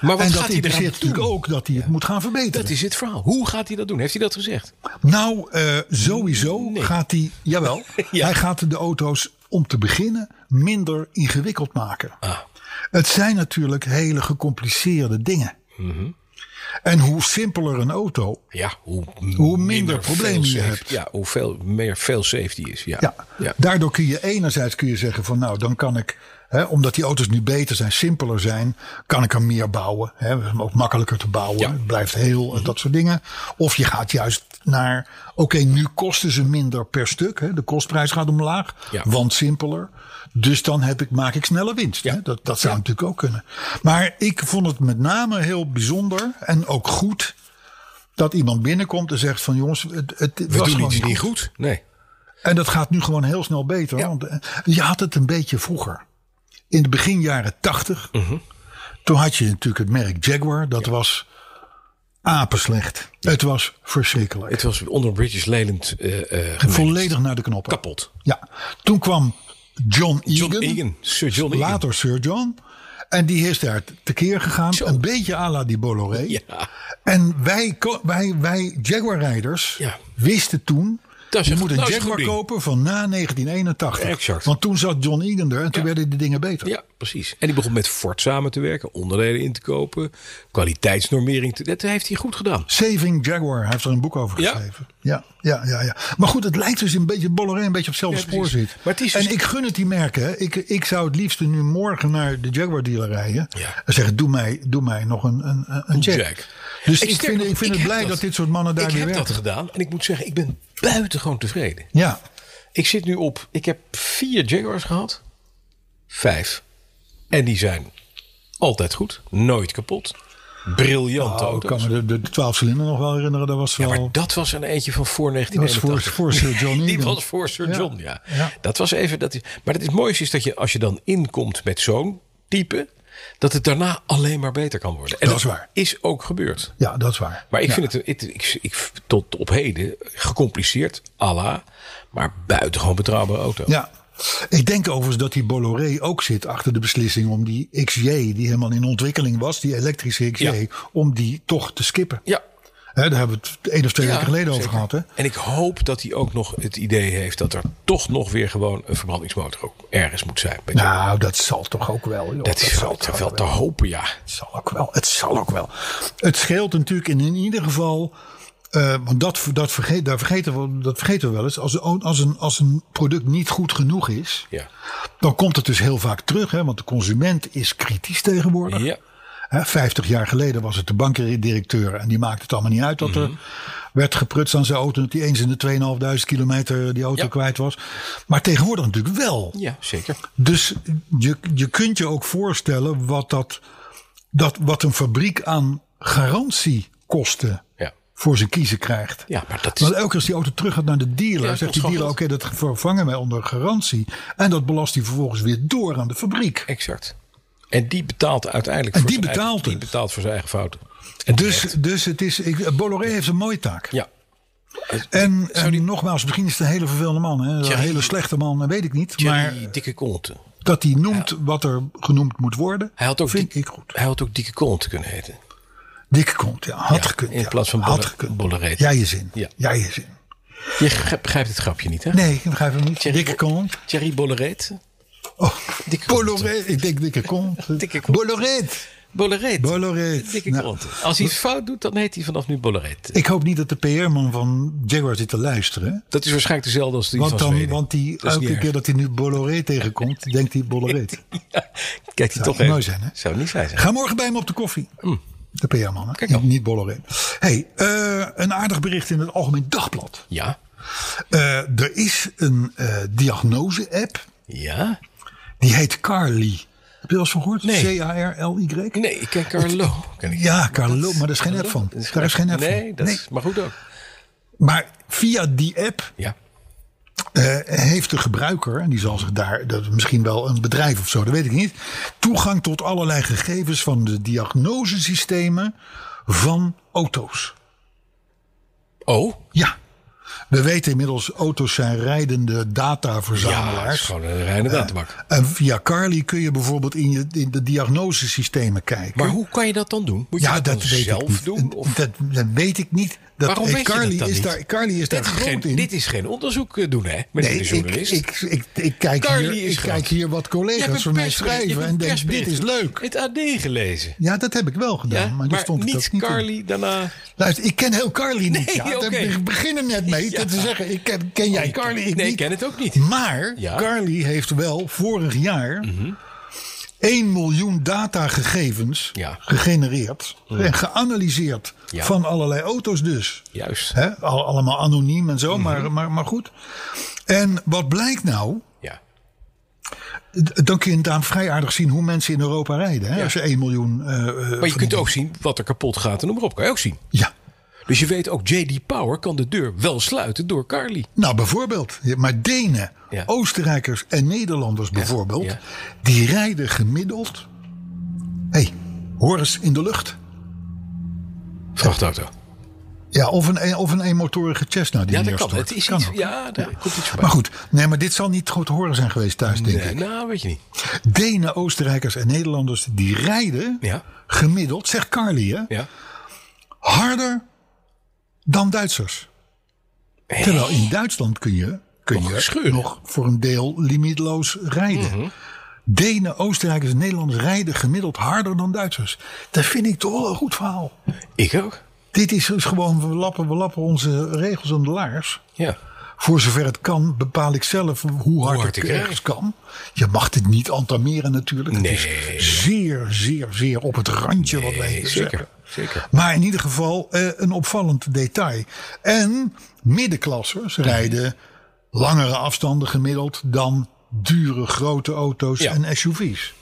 Maar wat en dat gaat hij eraan interesseert doen? natuurlijk ook dat hij het moet gaan verbeteren. Dat is het verhaal. Hoe gaat hij dat doen? Heeft hij dat gezegd? Nou, eh, sowieso gaat hij, jawel, Ja. hij gaat de auto's om te beginnen minder ingewikkeld maken. Het zijn natuurlijk hele gecompliceerde dingen. En hoe simpeler een auto, Ja, hoe, Hoe minder problemen fail je safe- hebt. Ja, hoe veel meer fail safety is. Ja. ja, daardoor kun je enerzijds kun je zeggen van nou, dan kan ik, hè, omdat die auto's nu beter zijn, simpeler zijn, kan ik er meer bouwen. Hè, ook makkelijker te bouwen, Ja. het blijft heel en dat soort dingen. Of je gaat juist naar, oké, nu kosten ze minder per stuk. Hè, de kostprijs gaat omlaag, Ja. want simpeler. Dus dan heb ik, maak ik snelle winst. Hè? Dat, dat zou natuurlijk ook kunnen. Maar ik vond het met name heel bijzonder en ook goed dat iemand binnenkomt en zegt van jongens, het, het We was doen gewoon iets niet niet goed. Nee. en dat gaat nu gewoon heel snel beter. Want eh, je had het een beetje vroeger. In de begin jaren tachtig. Mhm. Toen had je natuurlijk het merk Jaguar. Dat was apenslecht. Het was verschrikkelijk. Het was onder British Leyland eh, eh, Volledig naar de knoppen. kapot. Ja. Toen kwam John Egan. John Egan. Sir John Egan. Later Sir John. En die is daar tekeer gegaan. Zo. Een beetje à la die Bolloré. Ja. En wij, ko- wij, wij Jaguar-rijders Ja. wisten toen... Dat is je een- moet een dat is een Jaguar goed ding. kopen van na 1981. Exact. Want toen zat John Egan er en toen werden de dingen beter. Ja, precies. En die begon met Ford samen te werken, onderdelen in te kopen, kwaliteitsnormering. Te, dat heeft hij goed gedaan. Saving Jaguar, hij heeft er een boek over Ja. geschreven. Ja, ja, ja, ja. Maar goed, het lijkt dus een beetje Bolloré een beetje op hetzelfde Ja, spoor precies. zit. Maar het is dus- En ik gun het die merken. hè. Ik, ik zou het liefst nu morgen naar de Jaguar dealer rijden. Ja. En zeggen, doe mij, doe mij nog een, een, een- een check. Jack. Dus En ik sterker vind, nog, ik vind het heb blij dat, dit soort mannen daar ik weer heb werken. dat gedaan en ik moet zeggen, ik ben buitengewoon tevreden. Ja, Ik zit nu op, ik heb vier Jaguars gehad. Vijf. En die zijn altijd goed, nooit kapot. Briljante oh, ik auto's. kan me de, de, 12 cilinder nog wel herinneren. Dat was Ja, wel... maar dat was een eentje van was voor 1981. voor, voor Sir John Egan. Die was voor Sir John, ja. Ja. Dat was even. Dat is, maar het is mooiste is dat je, als je dan inkomt met zo'n type, dat het daarna alleen maar beter kan worden. En Dat is waar. Is ook gebeurd. Ja, dat is waar. Maar ik Ja. vind het, het- ik, ik, tot op heden gecompliceerd, alla, maar buitengewoon betrouwbare auto. Ja. Ik denk overigens dat die Bolloré ook zit achter de beslissing om die XJ, die helemaal in ontwikkeling was, die elektrische XJ, Ja. om die toch te skippen. Ja. Hè, daar hebben we het één of twee Ja, weken geleden over zeker. gehad. Hè? En ik hoop dat hij ook nog het idee heeft dat er toch nog weer gewoon een verbrandingsmotor ook ergens moet zijn. Bij Jaguar. Nou, dat zal toch ook wel. joh. dat, is zal wel, toch wel te hopen, ja. Het zal ook wel. Het zal ook wel. Het scheelt natuurlijk in, in ieder geval. eh, want dat, dat, vergeet, daar vergeten we, dat vergeten we wel eens. Als, als, een, als een product niet goed genoeg is, Ja. dan komt het dus heel vaak terug. Hè, want de consument is kritisch tegenwoordig. Ja. Hè, 50 jaar geleden was het de bankdirecteur. En die maakte het allemaal niet uit dat Mhm. er werd geprutst aan zijn auto. Dat hij eens in de 2500 kilometer die auto Ja. kwijt was. Maar tegenwoordig natuurlijk wel. Ja, zeker. Dus je, je kunt je ook voorstellen wat, dat, dat, wat een fabriek aan garantiekosten Ja. voor zijn kiezen krijgt. Ja, maar dat is- Want elke keer als die auto terug gaat naar de dealer, Ja, zegt kost die gewoon dealer: Oké, dat vervangen wij onder garantie. En dat belast hij vervolgens weer door aan de fabriek. Exact. En die betaalt uiteindelijk En voor die zijn eigen- betaalt die het. betaalt voor zijn eigen fouten. En Dus, terecht. dus het is, ik, Bolloré heeft een mooie taak. ja. En, en nogmaals, misschien is het een hele vervelende man. Hè? Een Thierry- hele slechte man, dat weet ik niet. Maar Maar dikke konten. dat hij noemt wat er genoemd moet worden, Hij had ook vind Dick- ik goed. Hij had ook dikke konten kunnen heten. Dikke kont, ja. Had Ja, gekund. in ja. plaats van had bolle- gekund. bollereet. Ja, je zin. Ja. Ja. ja, je zin. Je ge- begrijpt het grapje niet, hè? Nee, ik begrijp hem niet. Thierry Dikke Bo- kont. Thierry Bolleret. Oh, Dikke kont. Bolloré. Ik denk dikke kont. Dikke kont. Bolloreet. Bolleret. Bolloreet. Dikke Nou, konten. Als hij iets fout doet, dan heet hij vanaf nu Bolleret. Ik hoop niet dat de PR-man van Jaguar zit te luisteren. Dat is waarschijnlijk dezelfde als die Want, van dan, Zweden. want die, Dat is niet elke erg. keer dat hij nu Bolloré tegenkomt, denkt hij Bolloré. Ja, Kijk, die Zou toch mooi even. zijn, hè? Zou niet zijn, zijn. Ga morgen bij hem op de koffie. De PR-man, hè? Mm. Kijk dan. Niet Bolloré. hey, eh, een aardig bericht in het Algemeen Dagblad. Ja. Eh, er is een eh, diagnose-app. Ja. Die heet Carly. Heb je wel eens van gehoord? Nee. C-A-R-L-Y? Nee, ik ken Carlo. Ken ik. Ja, Carlo, maar daar is geen app van. Dat Daar is geen app van. Nee, dat is maar goed ook. Maar via die app Ja. eh, heeft de gebruiker, en die zal zich daar, dat is misschien wel een bedrijf of zo, dat weet ik niet, toegang tot allerlei gegevens van de diagnosesystemen van auto's. Oh, Ja. We weten inmiddels, auto's zijn rijdende ja, dat is dataverzamelaars. gewoon een reine databak. en via Carly kun je bijvoorbeeld in, je, in de diagnosesystemen kijken. Maar hoe kan je dat dan doen? Moet je Ja, dat, dat, dan weet ik zelf niet. doen? Of? Dat, dat weet ik niet. Dat, Waarom eh, weet je Carly dat dan is niet? Daar, Carly is daar dit, is groot geen, in. dit is geen onderzoek eh, doen, hè? Met nee, een ik, journalist. ik, ik, ik, kijk Carly hier, is ik groot. kijk hier wat Jij hebt collega's een van mij persbericht, je schrijven hebt en een denk, dit is persbericht. leuk. Het AD gelezen. Ja, dat heb ik wel gedaan, Ja, maar, maar, daar stond het niet ook niet in. Carly daarna. Luister, ik ken heel Carly niet. Nee, ja. Daar oké. be- beginnen net mee Ja. Oh, te zeggen, ik ken, ken jij ik- Carly? Ik nee, niet. ik ken het ook niet. Maar Ja. Mhm. Carly heeft wel vorig jaar 1 miljoen datagegevens Ja. Mhm. gegenereerd en geanalyseerd Ja. van allerlei auto's dus. Juist. Mhm. Hè, al- allemaal anoniem en zo, maar, maar, maar goed. En wat blijkt nou? Ja. D- Dan kun je daar vrij aardig zien hoe mensen in Europa rijden. Hè? Als je 1 miljoen. eh, eh, Maar je van- kunt ook zien wat er kapot gaat en noem maar op. Kan je ook zien. Ja. Dus je weet ook, J.D. Power kan de deur wel sluiten door Carly. Nou, bijvoorbeeld. Ja, Maar Denen, Ja. Oostenrijkers en Nederlanders bijvoorbeeld. ja. Die rijden gemiddeld. Hé, hey, hoor eens in de lucht. Vrachtauto. Ja, of een, een- of een eenmotorige Cessna die Ja, dat kan. neerstort. Het is Kan iets, ook. ja, daar komt iets voorbij. Maar goed, nee, maar dit zal niet goed te horen zijn geweest thuis, denk Nee, ik. nou, weet je niet. Denen, Oostenrijkers en Nederlanders die rijden Ja. gemiddeld, zegt Carly, hè, Ja. harder dan Duitsers. Terwijl in Duitsland kun je, kun Nog je scheuren. nog voor een deel limietloos rijden. Denen, Oostenrijkers en Nederlanders rijden gemiddeld harder dan Duitsers. Dat vind ik toch wel een goed verhaal. Ik ook. Dit is dus gewoon, we lappen, we lappen onze regels aan de laars. Ja. Voor zover het kan, bepaal ik zelf hoe hard, hard ik ik rijd. ergens kan. Je mag dit niet entameren natuurlijk. Nee. Het is zeer, zeer, zeer op het randje wat wij hier zeker, zeggen. zeker. Maar in ieder geval eh, een opvallend detail. En middenklassers Mhm. rijden langere afstanden gemiddeld dan dure grote auto's Ja. en SUV's. Natuurlijk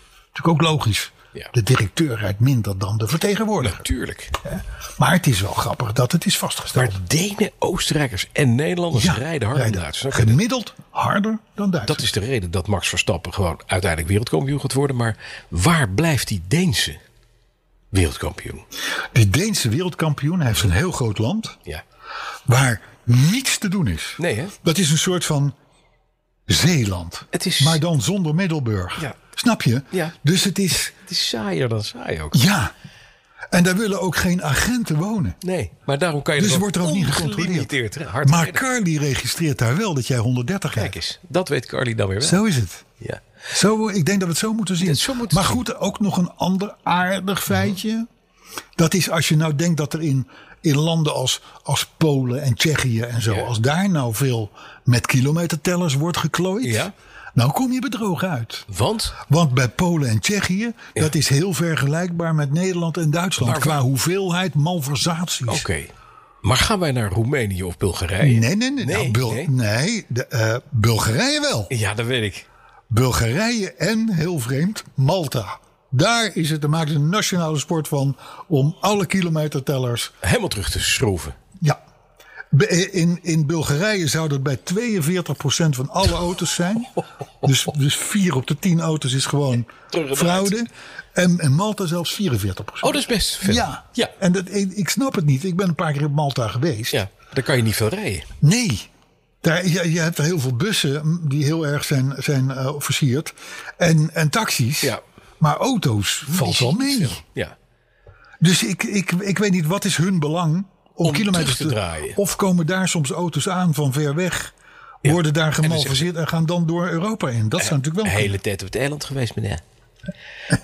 ook logisch. Ja. De directeur rijdt minder dan de vertegenwoordiger. Tuurlijk. Maar het is wel grappig dat het is vastgesteld. Maar Denen, Oostenrijkers en Nederlanders Ja, rijden harder dan Duitsers. Oké, Gemiddeld harder dan Duitsers. Dat is de reden dat Max Verstappen gewoon uiteindelijk wereldkampioen gaat worden. Maar waar blijft die Deense wereldkampioen? Die Deense wereldkampioen heeft een heel groot land Ja. waar niets te doen is. Nee, hè? Dat is een soort van Zeeland. Het is- Maar dan zonder Middelburg. Ja. Snap je? Ja. Dus het is. Het is saaier dan saai ook. Ja. En daar willen ook geen agenten wonen. Nee, maar daarom kan je Dus er wordt er ook niet gecontroleerd. Hard Maar rijden. Carly registreert daar wel dat jij 130 Kijk rijdt. eens, dat weet Carly dan weer wel. Zo is het. Ja. Zo, ik denk dat we het zo moeten zien. Ja, zo moeten we maar het goed, ook nog een ander aardig feitje. Dat is als je nou denkt dat er in, in landen als, als Polen en Tsjechië en zo, als daar nou veel met kilometertellers wordt geklooid. Ja. Nou kom je bedroog uit. Want? Want bij Polen en Tsjechië, dat is heel vergelijkbaar met Nederland en Duitsland. Maar- qua hoeveelheid malversaties. Oké. Maar gaan wij naar Roemenië of Bulgarije? Nee, nee, nee. nou, Nee, Bul- nee. nee, de, eh, Bulgarije wel. Ja, dat weet ik. Bulgarije en, heel vreemd, Malta. Daar is het, daar maken ze een nationale sport van om alle kilometertellers. Helemaal terug te schroeven. Ja. Be- eh, In, in Bulgarije zou dat bij 42% van alle auto's zijn. Dus, dus 4 op de 10 auto's is gewoon Teruggedraaid. fraude. En, en Malta zelfs 44%. Oh, dat is best veel. Ja, Ja. en dat, ik, ik snap het niet. Ik ben een paar keer op Malta geweest. ja. Daar kan je niet veel rijden. Nee. Daar, je, je hebt er heel veel bussen mm, die heel erg zijn, zijn eh, versierd. En, en taxis. Ja. Maar auto's valt wel mee. Ja. Dus ik, ik, ik weet niet wat is hun belang om, Om kilometers terug te draaien. Of komen daar soms auto's aan van ver weg. Worden daar zeggen gemalverseerd en gaan dan door Europa in. Dat zou natuurlijk Een wel hele tijd op het eiland geweest, meneer.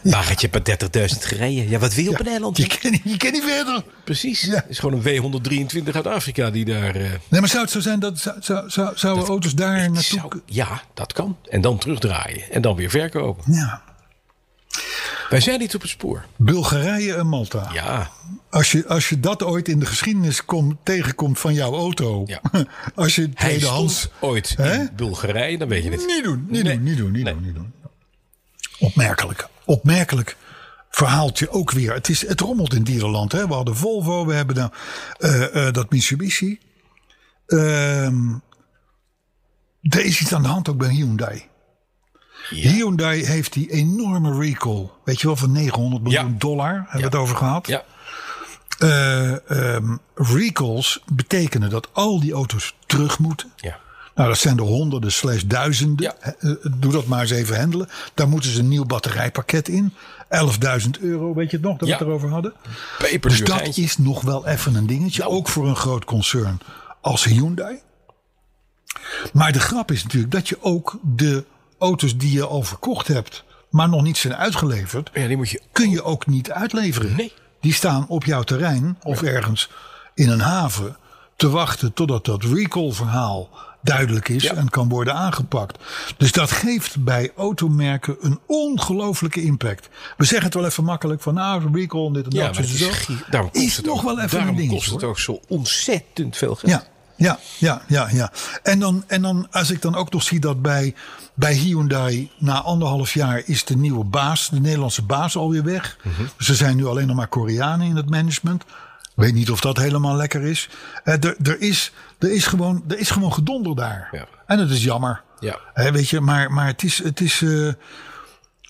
Wagentje per 30.000 gereden. Ja, wat wil je op een eiland? Je kan, je kan niet verder. Precies. Ja. Het is gewoon een W123 uit Afrika die daar... eh, Nee, maar zou het zo zijn dat zou, zou, zou, zouden auto's daar naartoe... zou- ja, dat kan. En dan terugdraaien. En dan weer verkopen. Ja. Wij zijn niet op het spoor. Bulgarije en Malta. Ja. Als je, als je dat ooit in de geschiedenis kom, tegenkomt van jouw auto. Ja. als je Hij tweedehands. stond ooit Hè? in Bulgarije, dan weet je het. Niet doen, niet Nee. doen, niet doen, niet Nee. doen, niet doen. Opmerkelijk. Opmerkelijk verhaaltje ook weer. Het, is, het rommelt in dierenland. Hè? We hadden Volvo, we hebben nou, eh, eh, dat Mitsubishi. Ehm, er is iets aan de hand ook bij Hyundai. Hyundai heeft die enorme recall. Weet je wel, van 900 miljoen Ja. dollar hebben we het over gehad. Ja. Eh, ehm, recalls betekenen dat al die auto's terug moeten. Ja. Nou, dat zijn er honderden slash duizenden. Ja. Eh, eh, Doe dat maar eens even handelen. Daar moeten ze een nieuw batterijpakket in. 11.000 euro, weet je het nog, dat Ja. we het erover hadden? Peperduur Dus dat geintje. is nog wel even een dingetje. Nou. Ook voor een groot concern als Hyundai. Maar de grap is natuurlijk dat je ook de auto's die je al verkocht hebt... maar nog niet zijn uitgeleverd Ja, die moet je... kun je ook niet uitleveren. Nee. Die staan op jouw terrein of ergens in een haven te wachten totdat dat recall-verhaal duidelijk is Ja. en kan worden aangepakt. Dus dat geeft bij automerken een ongelofelijke impact. We zeggen het wel even makkelijk van nou, recall en dit en Ja, dat. maar het zo, is, zo. gie- daarom kost Is het nog ook, wel even een daarom dingetje. kost het hoor. ook zo ontzettend veel geld. Ja, ja, ja, ja, ja. En dan, en dan als ik dan ook nog zie dat bij, bij Hyundai na anderhalf jaar is de nieuwe baas, de Nederlandse baas alweer weg. Mhm. Ze zijn nu alleen nog maar Koreanen in het management. Ik weet niet of dat helemaal lekker is. Eh, Er er is, er is, gewoon, er is gewoon gedonder daar. Ja. En dat is jammer. Ja. Hè, weet je, maar, maar het is. Het is eh,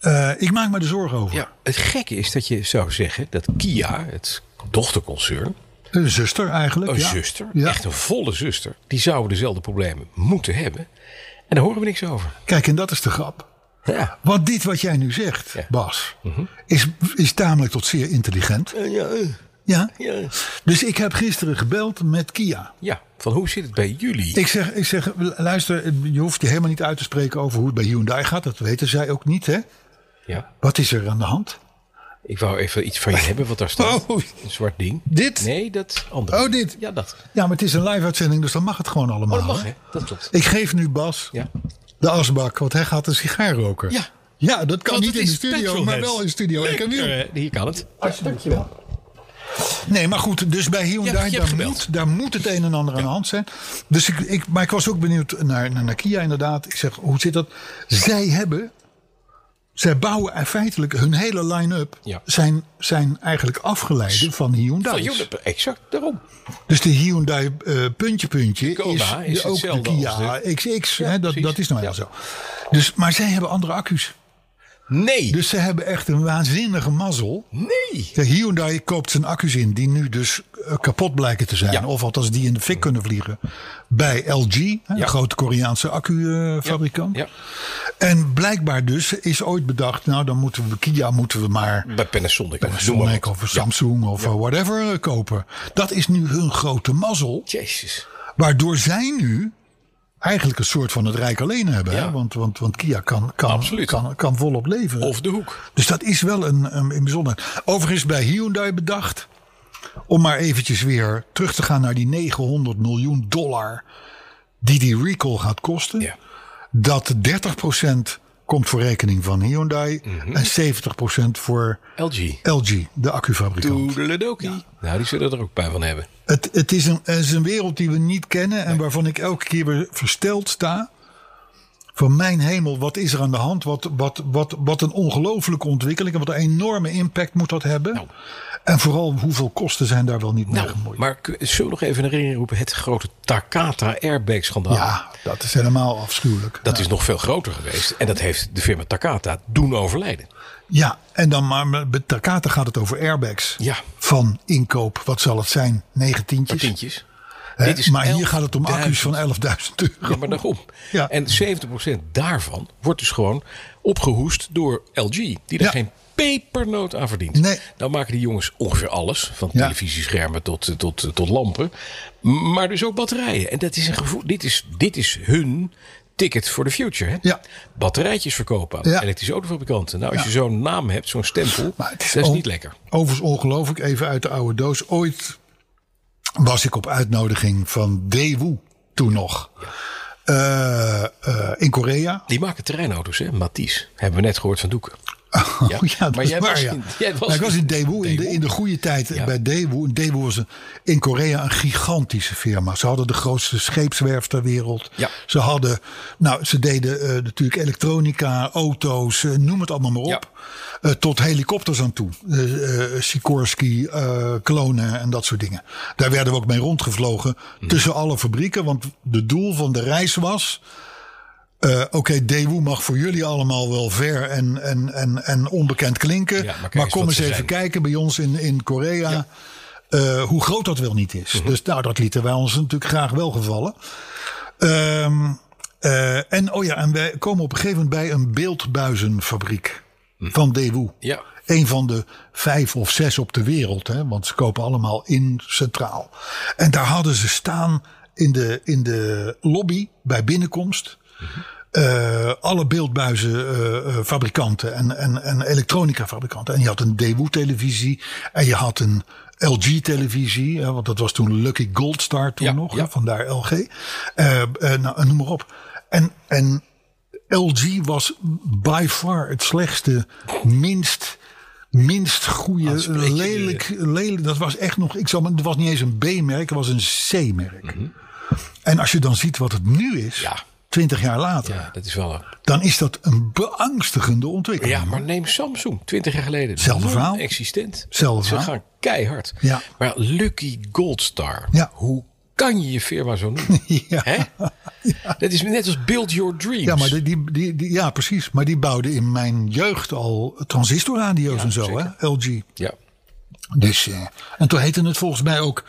eh, ik maak me er zorgen over. Ja, het gekke is dat je zou zeggen dat Kia, het dochterconcern, Een zuster eigenlijk. een ja. zuster, Ja. echt een volle zuster, die zouden dezelfde problemen moeten hebben. En daar horen we niks over. Kijk, en dat is de grap. Ja. Want dit wat jij nu zegt, Ja. Mhm. Bas, is, is tamelijk tot zeer intelligent. Ja. Eh, ja. Dus ik heb gisteren gebeld met Kia. Ja, van hoe zit het bij jullie? Ik zeg, ik zeg, eh, luister, je hoeft je helemaal niet uit te spreken over hoe het bij Hyundai gaat. Dat weten zij ook niet, hè? Ja, Wat is er aan de hand? ik wou even iets van je hebben wat daar staat. Oh. Een zwart ding. Dit? Nee, dat andere. Oh, dit. Ja, dat. Ja, maar het is een live uitzending, dus dan mag het gewoon allemaal. Oh, dat mag, hè? hè? Dat klopt. Ik geef nu Bas Ja. de asbak, want hij gaat een sigaar roken. Ja. Ja, dat kan Want niet het in de is studio, petrolhead. maar wel in studio. Ik kan nu. Eh, hier kan het. Nee, maar goed, dus bij Ja, Hyundai, je hebt daar, gebeld. moet, daar moet het een en ander aan de hand zijn. Dus ik, ik, maar ik was ook benieuwd naar, naar, naar Kia inderdaad. Ik zeg, hoe zit dat? Zij hebben, zij bouwen er feitelijk hun hele line-up... Ja. Zijn, zijn eigenlijk afgeleiden van Van Hyundai. jullie, exact, daarom. Dus de Hyundai eh, puntje puntje Kona is, is de- ook de hetzelfde Kia XX. hè, dat, precies. dat is nou Ja. ja. zo. Dus, maar zij hebben andere accu's. Nee. Dus ze hebben echt een waanzinnige mazzel. nee. De Hyundai koopt zijn accu's in die nu dus eh, kapot blijken te zijn. Ja. Of althans die in de fik kunnen vliegen. Bij LG, hè, Ja. een grote Koreaanse accu-fabrikant. Ja. En blijkbaar dus is ooit bedacht, nou dan moeten we Kia moeten we maar Bij Panasonic. Noem maar Panasonic wat. of Samsung of eh, whatever eh, kopen. Dat is nu hun grote mazzel. Jezus. Waardoor zij nu eigenlijk een soort van het rijk alleen hebben. Ja. Hè? Want, want, want Kia kan, kan, Absoluut. kan, kan volop leveren. Of de hoek. Dus dat is wel een, een, een bijzonder. Overigens bij Hyundai bedacht. Om maar eventjes weer terug te gaan naar die 900 miljoen dollar. Die die recall gaat kosten. Ja. dat 30% komt voor rekening van Hyundai Mhm. en 70% voor LG. LG, de accufabrikant. Toedeledokie. Nou, die zullen er ook bij van hebben. Het, het, is een, het is een wereld die we niet kennen en waarvan ik elke keer weer versteld sta. Van mijn hemel, wat is er aan de hand? Wat, wat, wat, wat een ongelofelijke ontwikkeling en wat een enorme impact moet dat hebben. Nou. En vooral hoeveel kosten zijn daar wel niet mee gemoeid. Maar k- zullen we nog even in herinnering roepen het grote Takata airbag schandaal? Ja, dat is helemaal afschuwelijk. Nou. Dat is nog veel groter geweest. En dat heeft de firma Takata doen overlijden. Ja, en dan maar met Takata gaat het over airbags. Ja. Van inkoop, wat zal het zijn? Negentientjes. Tientjes. Hè? Dit is maar hier gaat het om 11.000. accu's van 11.000 euro. Ja, maar daarom. Ja. En 70% daarvan wordt dus gewoon opgehoest door LG. Die er Ja. geen pepernoot aan verdient. Nee. Nou maken die jongens ongeveer alles. Van Ja. televisieschermen tot, eh, tot, eh, tot lampen. Maar dus ook batterijen. En dat is een gevoel. Dit is, dit is hun ticket for the future. Hè? Ja. Batterijtjes verkopen aan Ja. elektrische autofabrikanten. Nou, als je zo'n naam hebt, zo'n stempel. Maar het is dat is on- niet lekker. Overigens ongelooflijk, even uit de oude doos. Ooit was ik op uitnodiging van Daewoo, toen nog, eh, eh, in Korea. Die maken terreinauto's, hè? Matisse. Hebben we net gehoord van Doeken. Oh, ja, dat maar is jij waar, was ja. in- jij was Nou, ik was in in Daewoo in de, in de goede tijd eh, Ja. bij Daewoo. En Daewoo was een- in Korea een gigantische firma. Ze hadden de grootste scheepswerf ter wereld. Ja. Ze hadden, nou, ze deden eh, natuurlijk elektronica, auto's, eh, noem het allemaal maar op. Eh, tot helikopters aan toe. Eh, eh, Sikorsky, eh klonen en dat soort dingen. Daar werden we ook mee rondgevlogen Hmm. tussen alle fabrieken. Want de doel van de reis was... Eh, Oké, Daewoo mag voor jullie allemaal wel ver en, en, en, en onbekend klinken. Ja, maar maar, kijk eens kom wat eens ze even zijn. kijken bij ons in, in Korea. eh, hoe groot dat wel niet is. Mhm. Dus nou, dat lieten wij ons natuurlijk graag wel gevallen. Ehm, eh, en oh ja, en wij komen op een gegeven moment bij een beeldbuizenfabriek van Daewoo. Mhm. Ja. Een van de vijf of zes op de wereld. Hè, want ze kopen allemaal in centraal. En daar hadden ze staan in de, in de lobby bij binnenkomst. eh, alle beeldbuizenfabrikanten en, en, en elektronica-fabrikanten. En je had een Daewoo-televisie en je had een LG-televisie. hè, Want dat was toen Lucky Gold Star toen Ja, nog, hè, ja. vandaar LG. Eh, eh, nou, noem maar op. En, en LG was by far het slechtste, minst, minst goede, Aanspreek Ah, je die, lelijk, lelijk. Dat was echt nog, ik zal, maar- het was niet eens een B-merk, het was een C-merk. En als je dan ziet wat het nu is, Mhm. Ja. 20 jaar later, Ja, dat is wel een... dan is dat een beangstigende ontwikkeling. Ja, maar neem Samsung, 20 jaar geleden. Hetzelfde verhaal. Existent. Hetzelfde Ze verhaal. gaan keihard. Ja. Maar Lucky Gold Star. Ja. Hoe kan je je firma zo noemen? Ja. Hè? Dat is net als Build Your Dreams. Ja, maar die, die, die, die- ja, precies. Maar die bouwden in mijn jeugd al transistorradio's en zo, zeker. hè? LG. Ja. Dus, eh, en toen heette het volgens mij ook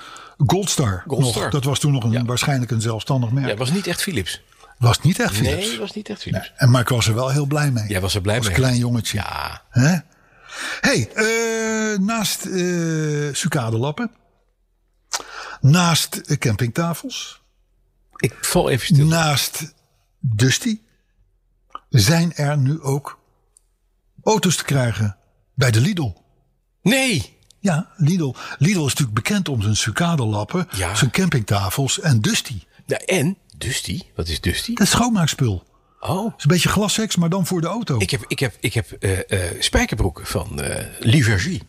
Goldstar. Gold nog. Star. Dat was toen nog een, Ja. waarschijnlijk een zelfstandig merk. Ja, het was niet echt Philips. Was niet echt Philips. Nee, het was niet echt Philips. En maar ik was er wel heel blij mee. Jij was er blij Als mee. klein jongetje. Ja. Hè? hey, eh, naast eh sucadelappen. Naast eh, campingtafels. Ik val even stil. Naast Dusty. Zijn er nu ook auto's te krijgen bij de Lidl. Nee! Ja, Lidl. Lidl is natuurlijk bekend om zijn sucadelappen, Ja. zijn campingtafels en Dusty. Nou, en Dusty. Wat is Dusty? Dat is schoonmaakspul. Het Oh. is een beetje glassex, maar dan voor de auto. Ik heb, ik heb, ik heb eh, eh, spijkerbroeken van eh Livergie.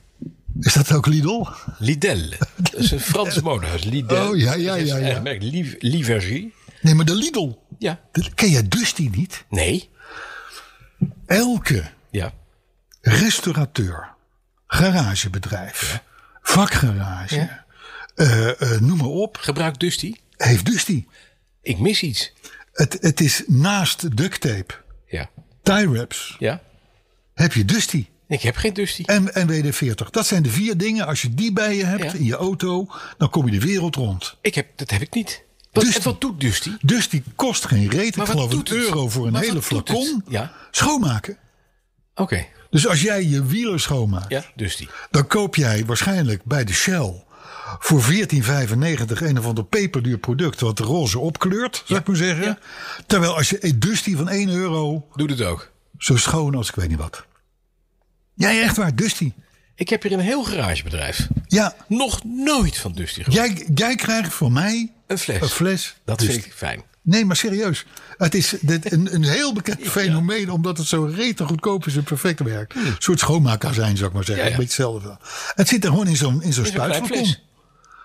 Is dat ook Lidl? Lidl. Dat is een Frans modehuis. Lidl. Oh, ja, ja, Dat is ja, een ja. eigen merk. Liv- Livergie. Nee, maar de Lidl. Ja. Dat- Ken jij Dusty niet? Nee. Elke Ja. restaurateur, garagebedrijf, vakgarage, eh, eh, noem maar op, Gebruik Dusty. heeft Dusty. Ik mis iets. Het, het is naast duct tape, Ja. tie wraps, Ja. heb je dus Dusty. Ik heb geen Dusty. En, en WD-40. Dat zijn de vier dingen. Als je die bij je hebt Ja. in je auto, dan kom je de wereld rond. Ik heb, dat heb ik niet. Wat, Dusty. en wat doet Dusty? Dus die kost geen reet. Maar ik wat geloof een doet het? euro voor een Maar hele wat doet flacon. het? Ja. Schoonmaken. Oké. Dus als jij je wieler schoonmaakt, Ja. Dusty. dan koop jij waarschijnlijk bij de Shell voor 14,95 een of ander peperduur product wat roze opkleurt, zou ik maar zeggen. ja. Terwijl als je eh, Dusty van 1 euro Doet het ook. zo schoon als ik weet niet wat. Jij echt waar, Dusty. Ik heb hier een heel garagebedrijf. Ja, Nog nooit van Dusty gehoord. jij, jij krijgt van mij Een fles. een fles Dat Dusty. vind ik fijn. Nee, maar serieus. Het is dit, een, een heel bekend fenomeen, omdat het zo rete goedkoop is en perfect werkt. Een soort schoonmaakazijn, zou ik maar zeggen. Hmm. Ja, ja. Een beetje hetzelfde. Het zit er gewoon in zo'n in zo'n klein spuitflacon. fles.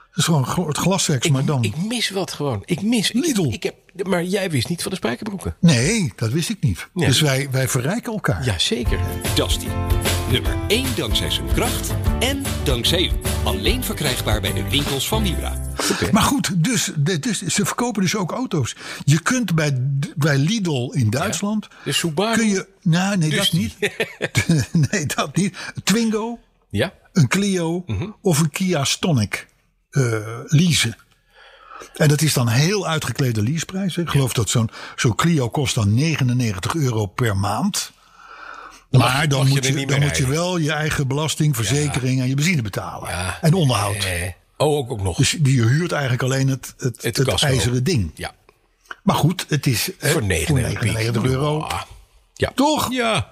Het is gewoon gl- het glaswerks, maar dan. Ik mis wat gewoon. Ik mis. ik- Lidl. Ik, heb, maar jij wist niet van de spijkerbroeken. Nee, dat wist ik niet. Nee. Dus wij, wij verrijken elkaar. Jazeker. Dusty. Nummer 1 dankzij zijn kracht en dankzij u. Alleen verkrijgbaar bij de winkels van Libra. Maar goed, dus, de- dus, ze verkopen dus ook auto's. Je kunt bij, bij Lidl in Duitsland. De Subaru. kun je, nou, nee, Dus dat niet. nee, dat niet. Twingo, Ja. een Clio Mhm. of een Kia Stonic eh leasen. En dat is dan heel uitgeklede leaseprijs. hè. Ik geloof dat zo'n zo'n Clio kost dan 99 euro per maand. maar mag je- dan, mag je moet, er je, niet dan meer moet je wel je eigen belasting, verzekering en je benzine betalen. Ja. En onderhoud. Eh, oh, ook, ook nog. Dus je huurt eigenlijk alleen het, het, het, casco. ijzeren ding. Ja. Maar goed, het is eh, Voor 99, piek. Ah. 99 euro. Ja. Ja. Toch? Ja.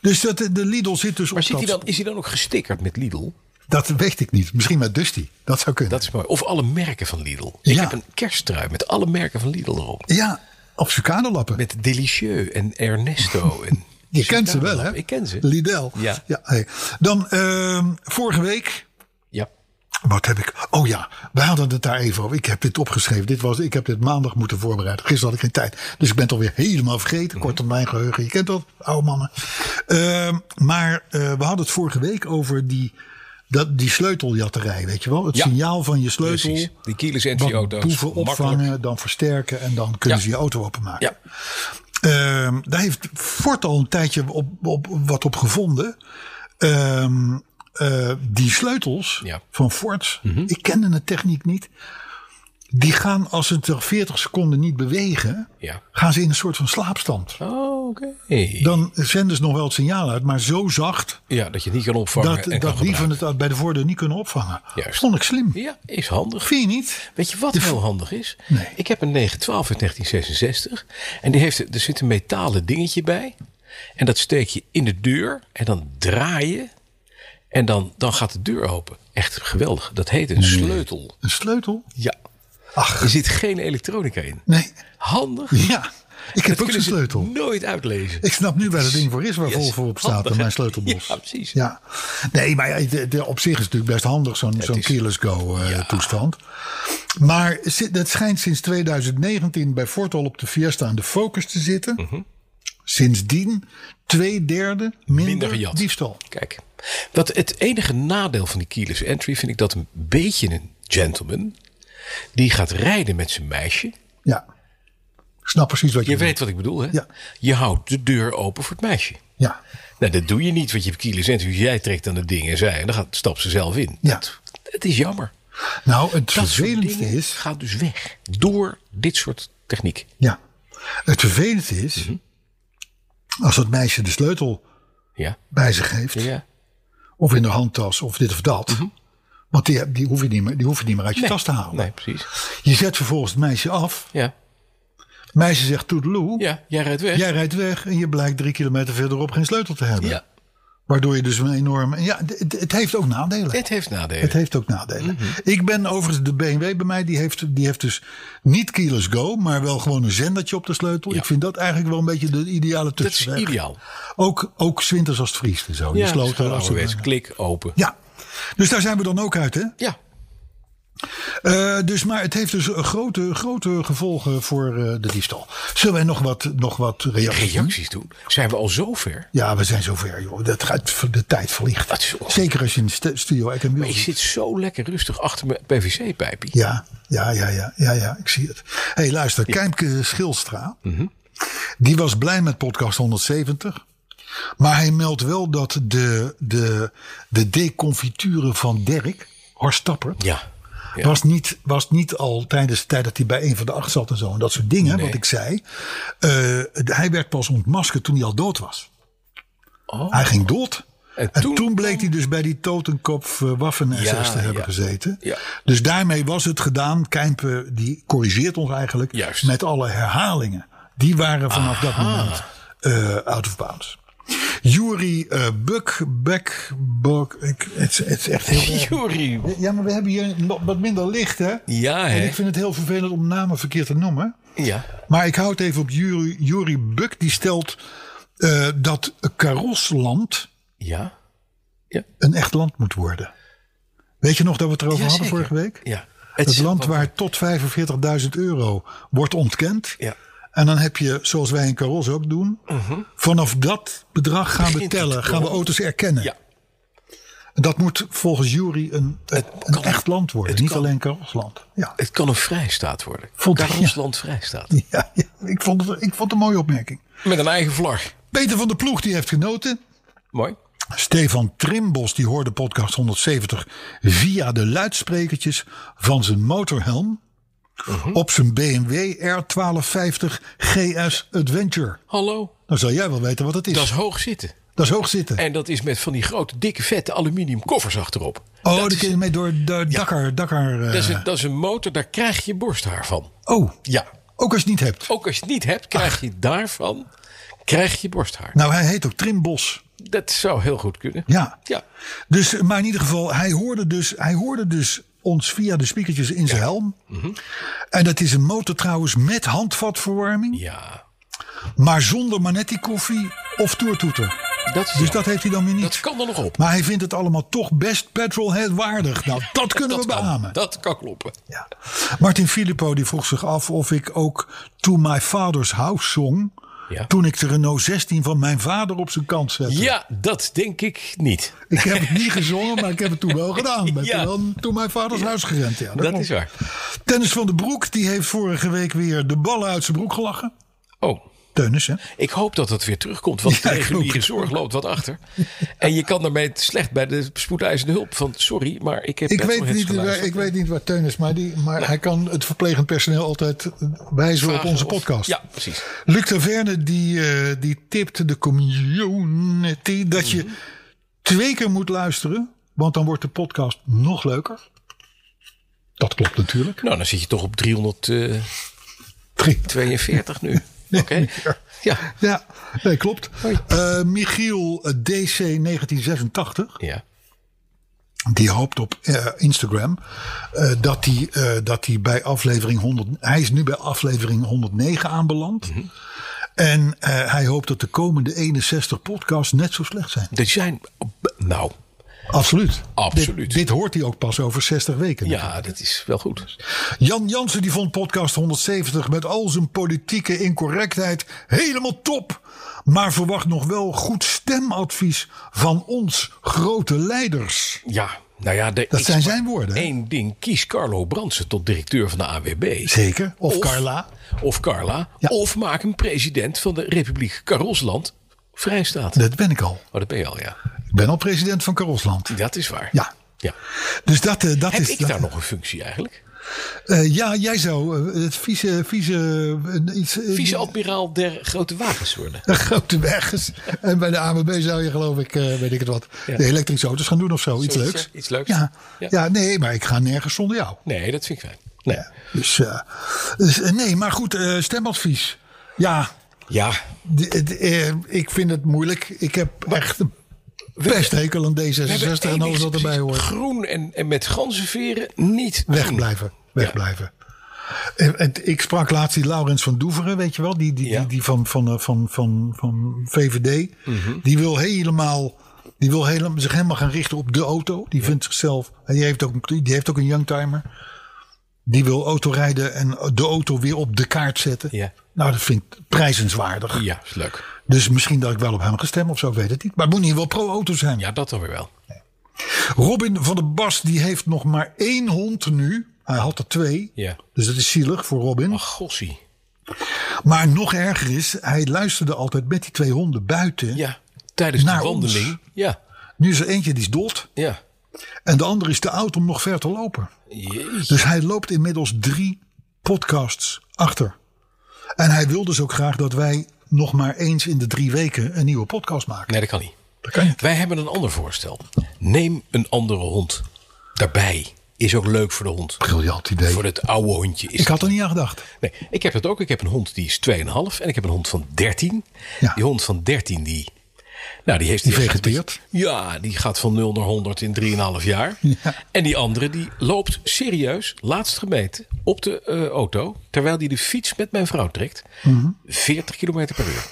Dus dat, de Lidl zit dus Maar op zit hij dat. dan, is hij dan ook gestickerd met Lidl? Dat weet ik niet. Misschien met Dusty. Dat zou kunnen. Dat is mooi. Of alle merken van Lidl. Ik Ja. heb een kersttrui met alle merken van Lidl erop. Ja, op sucadelappen. Met Delicieux en Ernesto. En Je kent ze wel, hè? Ik ken ze. Lidl. Ja. hey. Dan ehm, vorige week. Ja. Wat heb ik? Oh ja, we hadden het daar even over. Ik heb dit opgeschreven. Dit was, ik heb dit maandag moeten voorbereiden. Gisteren had ik geen tijd. Dus ik ben het alweer helemaal vergeten. Kort op mijn geheugen. Je kent dat, oude mannen. Ehm, maar eh, we hadden het vorige week over die, dat, die sleuteljatterij. Weet je wel? Het Ja. signaal van je sleutel. Precies. Die keyless Wat entry auto's. Boeven opvangen, Makkelijk. dan versterken en dan kunnen Ja. ze je auto openmaken. Ja. Ehm, daar heeft Ford al een tijdje op, op, wat op gevonden. Ehm, eh, die sleutels Ja. Mhm. van Ford, ik kende de techniek niet. Die gaan als ze er 40 seconden niet bewegen, Ja. gaan ze in een soort van slaapstand. Oh, oké. Dan zenden ze nog wel het signaal uit, maar zo zacht Ja, dat je het niet kan opvangen. dat, en kan dat dieven gebruiken. het bij de voordeur niet kunnen opvangen. Juist. Vond ik slim. Ja, is handig. Vind je niet? Weet je wat De- heel handig is? Nee. Ik heb een 912 uit 1966. En die heeft, er zit een metalen dingetje bij. En dat steek je in de deur. En dan draai je. En dan, dan gaat de deur open. Echt geweldig. Dat heet een sleutel. Een sleutel? Ja. Ach, Er zit geen elektronica in. nee. Handig. Ja, ik heb Dat ook zo'n kunnen ze sleutel. nooit uitlezen. Ik snap nu waar het ding voor is waar Yes. Volvo op staat Handig, in mijn hè? sleutelbos. Ja, precies. Ja. Nee, maar ja, de- de- op zich is het natuurlijk best handig zo'n zo'n is- keyless go eh, toestand. Maar zi- dat schijnt sinds 2019 bij Ford al op de Fiesta en de Focus te zitten. Mhm. Sindsdien twee derde minder, Minder gejat. diefstal. Kijk, wat het enige nadeel van die keyless entry vind ik dat een beetje een gentleman die gaat rijden met zijn meisje. Ja. Ik snap precies wat je, Je bedoelt. weet wat ik bedoel, hè? Ja. Je houdt de deur open voor het meisje. Ja. Nou, dat doe je niet, want je hebt keyless entry. Dus Jij trekt aan het ding en zij, en dan gaat, stapt ze zelf in. Ja. Dat, het is jammer. Nou, het Dat soort vervelendste dingen is. gaat dus weg door dit soort techniek. Ja. Het vervelendste is. Mhm. Als dat meisje de sleutel Ja. bij zich heeft. Ja. of in de handtas of dit of dat. Want die, die, hoef je niet meer, die hoef je niet meer uit je tas te halen. Mhm. Nee, precies. Je zet vervolgens het meisje af. Ja. Het meisje zegt toedeloe. Ja, jij rijdt weg. Jij rijdt weg en je blijkt drie kilometer verderop geen sleutel te hebben. Ja. Waardoor je dus een enorme... Ja, d- d- het, heeft ook nadelen. Het Mhm. heeft nadelen. Het heeft ook nadelen. Ik ben overigens de BMW bij mij, die heeft, die heeft dus niet keyless go, maar wel gewoon een zendertje op de sleutel. Ik vind dat eigenlijk wel een beetje de ideale dat is tussenweg. ideaal. Ook, ook zwinters als het vriest en zo. Die Ja, sloten sloot als het- ouderwets. Klik, open. Ja, dus daar zijn we dan ook uit hè? Ja, Eh, dus, maar het heeft dus eh, grote, grote gevolgen voor eh, de diefstal. Zullen wij nog wat, nog wat reacties doen? reacties doen. Zijn we al zover? Ja, we zijn zover, joh. Dat gaat, de tijd vliegt. Dat is ongelooflijk. Zeker als je in de stu- studio Eck Maar ik zit zo lekker rustig achter mijn PVC-pijpje. Ja, ja, ja, ja, ja, ja, ik zie het. Hé, hey, luister, Keimke Schilstra, Mhm. die was blij met podcast 170. Maar hij meldt wel dat de, de, de deconfiture van Dirk, Horst Tappert, Ja. Ja. Was, niet, was niet al tijdens de tijd dat hij bij een van de acht zat en zo. En dat soort dingen, wat ik zei. Eh, hij werd pas ontmaskerd toen hij al dood was. Hij ging dood. Oh. En En, toen- toen, bleek hij dus bij die Totenkopf eh, Waffen-SS Ja, te hebben ja. gezeten. Ja. Dus daarmee was het gedaan. Keimpe die corrigeert ons eigenlijk Juist. met alle herhalingen. Die waren vanaf dat moment eh, out of bounds. Jury eh Buk, Bek, Bok. Ik, het, het is echt heel erg. Jury. Ja, maar we hebben hier wat minder licht, hè? Ja, hè? En ik vind het heel vervelend om namen verkeerd te noemen. Ja. Maar ik houd even op Jury, Jury Buck. Die stelt eh, dat karosland Ja. een echt land moet worden. Weet je nog dat we het erover hadden Jazeker. vorige week? Ja. Het, is- land waar tot 45.000 euro wordt ontkend. Ja. Mhm. En dan heb je, zoals wij in Caros ook doen, vanaf dat bedrag gaan we Begint het tellen, gaan we land. auto's erkennen. Ja. En Dat moet volgens jury een, een, kan- echt land worden, het niet kan- alleen Carosland. Ja. Het kan een vrijstaat worden. Vond ik, Karelsland vrijstaat. Ja, ja, ik, vond het, ik vond het een mooie opmerking. Met een eigen vlag. Peter van der Ploeg die heeft genoten. Mooi. Stefan Trimbos die hoorde podcast 170 via de luidsprekertjes van zijn motorhelm. Mhm. Op zijn BMW R1250 GS Adventure. Hallo. Dan zal jij wel weten wat het is. Dat is hoog zitten. Dat is hoog zitten. En dat is met van die grote, dikke, vette aluminium koffers achterop. oh, dat, daar kun is, je mee door de Dakar. Dakar eh, dat, is een, dat is een motor, daar krijg je borsthaar van. Oh, Ja. ook als je het niet hebt. Ook als je het niet hebt, krijg je daarvan krijg je borsthaar. Nou, hij heet ook Trimbos. Dat zou heel goed kunnen. Ja. Ja. Dus, maar in ieder geval, hij hoorde dus, hij hoorde dus ons via de spiekertjes in zijn helm. Mhm. En dat is een motor trouwens met handvatverwarming. Ja. Maar zonder Manetti koffie of toertoeter. Dat, is Dus jammer. dat heeft hij dan weer niet. Dat kan er nog op. Maar hij vindt het allemaal toch best petrolhead waardig. Nou, dat kunnen we kan. beamen. Dat kan kloppen. Ja. Martin Filippo die vroeg zich af of ik ook To My Father's House zong. Ja. Toen ik de Renault 16 van mijn vader op zijn kant zette. Ja, dat denk ik niet. Ik heb het niet gezongen, maar ik heb het toen wel gedaan. Ik ben Ja. toen wel toen mijn vaders huis gerend. Ja, Dat klopt. is waar. Dennis van den Broek die heeft vorige week weer de ballen uit zijn broek gelachen. Oh, Teunis, hè? ik hoop dat dat weer terugkomt. Want Ja, de ik reguliere ook. zorg loopt wat achter. En je kan daarmee slecht bij de spoedeisende hulp. Van sorry, maar ik heb Ik weet, petrolheads niet, waar, geluisterd. ik weet niet waar Teun is, maar, die, maar hij kan het verplegend personeel altijd wijzen op Vragen onze of- podcast. Ja, precies. Luc Taverne die, eh, die tipte de community dat Mhm. je twee keer moet luisteren, want dan wordt de podcast nog leuker. Dat klopt natuurlijk. Nou, dan zit je toch op 342 Drie. nu. Oké. Ja. Ja, nee, klopt. Eh Michiel eh, DC 1986. Ja. Die hoopt op eh, Instagram eh, dat hij eh, dat hij bij aflevering 100. Hij is nu bij aflevering 109 aanbeland. En eh, hij hoopt dat de komende 61 podcasts net zo slecht zijn. Er zijn. Nou, Absoluut. Absoluut. Dit, dit hoort hij ook pas over 60 weken. ja, dat is wel goed. Jan Jansen die vond podcast 170 met al zijn politieke incorrectheid helemaal top. Maar verwacht nog wel goed stemadvies van ons grote leiders. Ja. Nou ja, er Dat is zijn maar zijn woorden, hè? één ding. Kies Carlo Brandsen tot directeur van de AWB. Zeker. Of, Carla. Of Carla. Ja. Of maak hem president van de Republiek Karosland Vrijstaat. Dat ben ik al. Oh, dat ben je al, ja. Ik ben al president van Karosland. Dat is waar. Ja. ja. Dus dat, eh, dat Heb is. ik dat- daar nog een functie eigenlijk? Eh, ja, jij zou eh, het vieze. vieze, eh, iets, eh, Vice-admiraal der grote wagens worden. de grote wegens. En bij de AWB zou je, geloof ik, eh, weet ik het wat, Ja. de elektrische auto's gaan doen of zo. Iets Zoiets, leuks. ja, iets leuks. Ja. Ja. Ja. nee, maar ik ga nergens zonder jou. Nee, dat vind ik fijn. Nee. Ja. Dus, eh, dus, eh, nee, maar goed, eh, stemadvies. Ja, d- d- eh, ik vind het moeilijk. Ik heb echt een best hekel aan D66 We hebben het en alles enigszins wat erbij hoort. Groen en, en met ganzenveren niet doen. Wegblijven. Wegblijven. En- en Ik sprak laatst die Laurens van Doeveren, weet je wel, die, die, Ja. die, die van, van, eh, van, van, van VVD. Mhm. Die wil helemaal, die wil helemaal, zich helemaal gaan richten op de auto. Die vindt zichzelf, en die heeft ook, een- die heeft ook een youngtimer. Die wil autorijden en de auto weer op de kaart zetten. Ja. Nou, dat vind ik prijzenswaardig. Ja, is leuk. Dus misschien dat ik wel op hem ga stemmen of zo, ik weet het niet. Maar het moet niet wel pro-auto zijn. Ja, dat dan weer wel. Robin van der Bas die heeft nog maar één hond nu. Hij had er twee. Ja. Dus dat is zielig voor Robin. Ach, gossie. Maar nog erger is, hij luisterde altijd met die twee honden buiten. Ja, tijdens Naar de ons. wandeling. Ja, Nu is er eentje die is dood ja. en de andere is te oud om nog ver te lopen. Jeetje. Dus hij loopt inmiddels drie podcasts achter. En hij wil dus ook graag dat wij nog maar eens in de drie weken een nieuwe podcast maken. Nee, dat kan niet. Dat kan niet. Wij hebben een ander voorstel. Neem een andere hond. Daarbij is ook leuk voor de hond. Briljant idee. Voor het oude hondje is Ik had er niet aan gedacht. Nee, ik heb dat ook. Ik heb een hond die is 2,5 en ik heb een hond van 13. Ja. Die hond van 13 die Nou, die heeft Die heeft- vegeteert. Ja, die gaat van 0 naar 100 in 3,5 jaar. En die andere die loopt serieus, laatst gemeten, op de eh, auto. Terwijl die de fiets met mijn vrouw trekt. 40 kilometer per uur.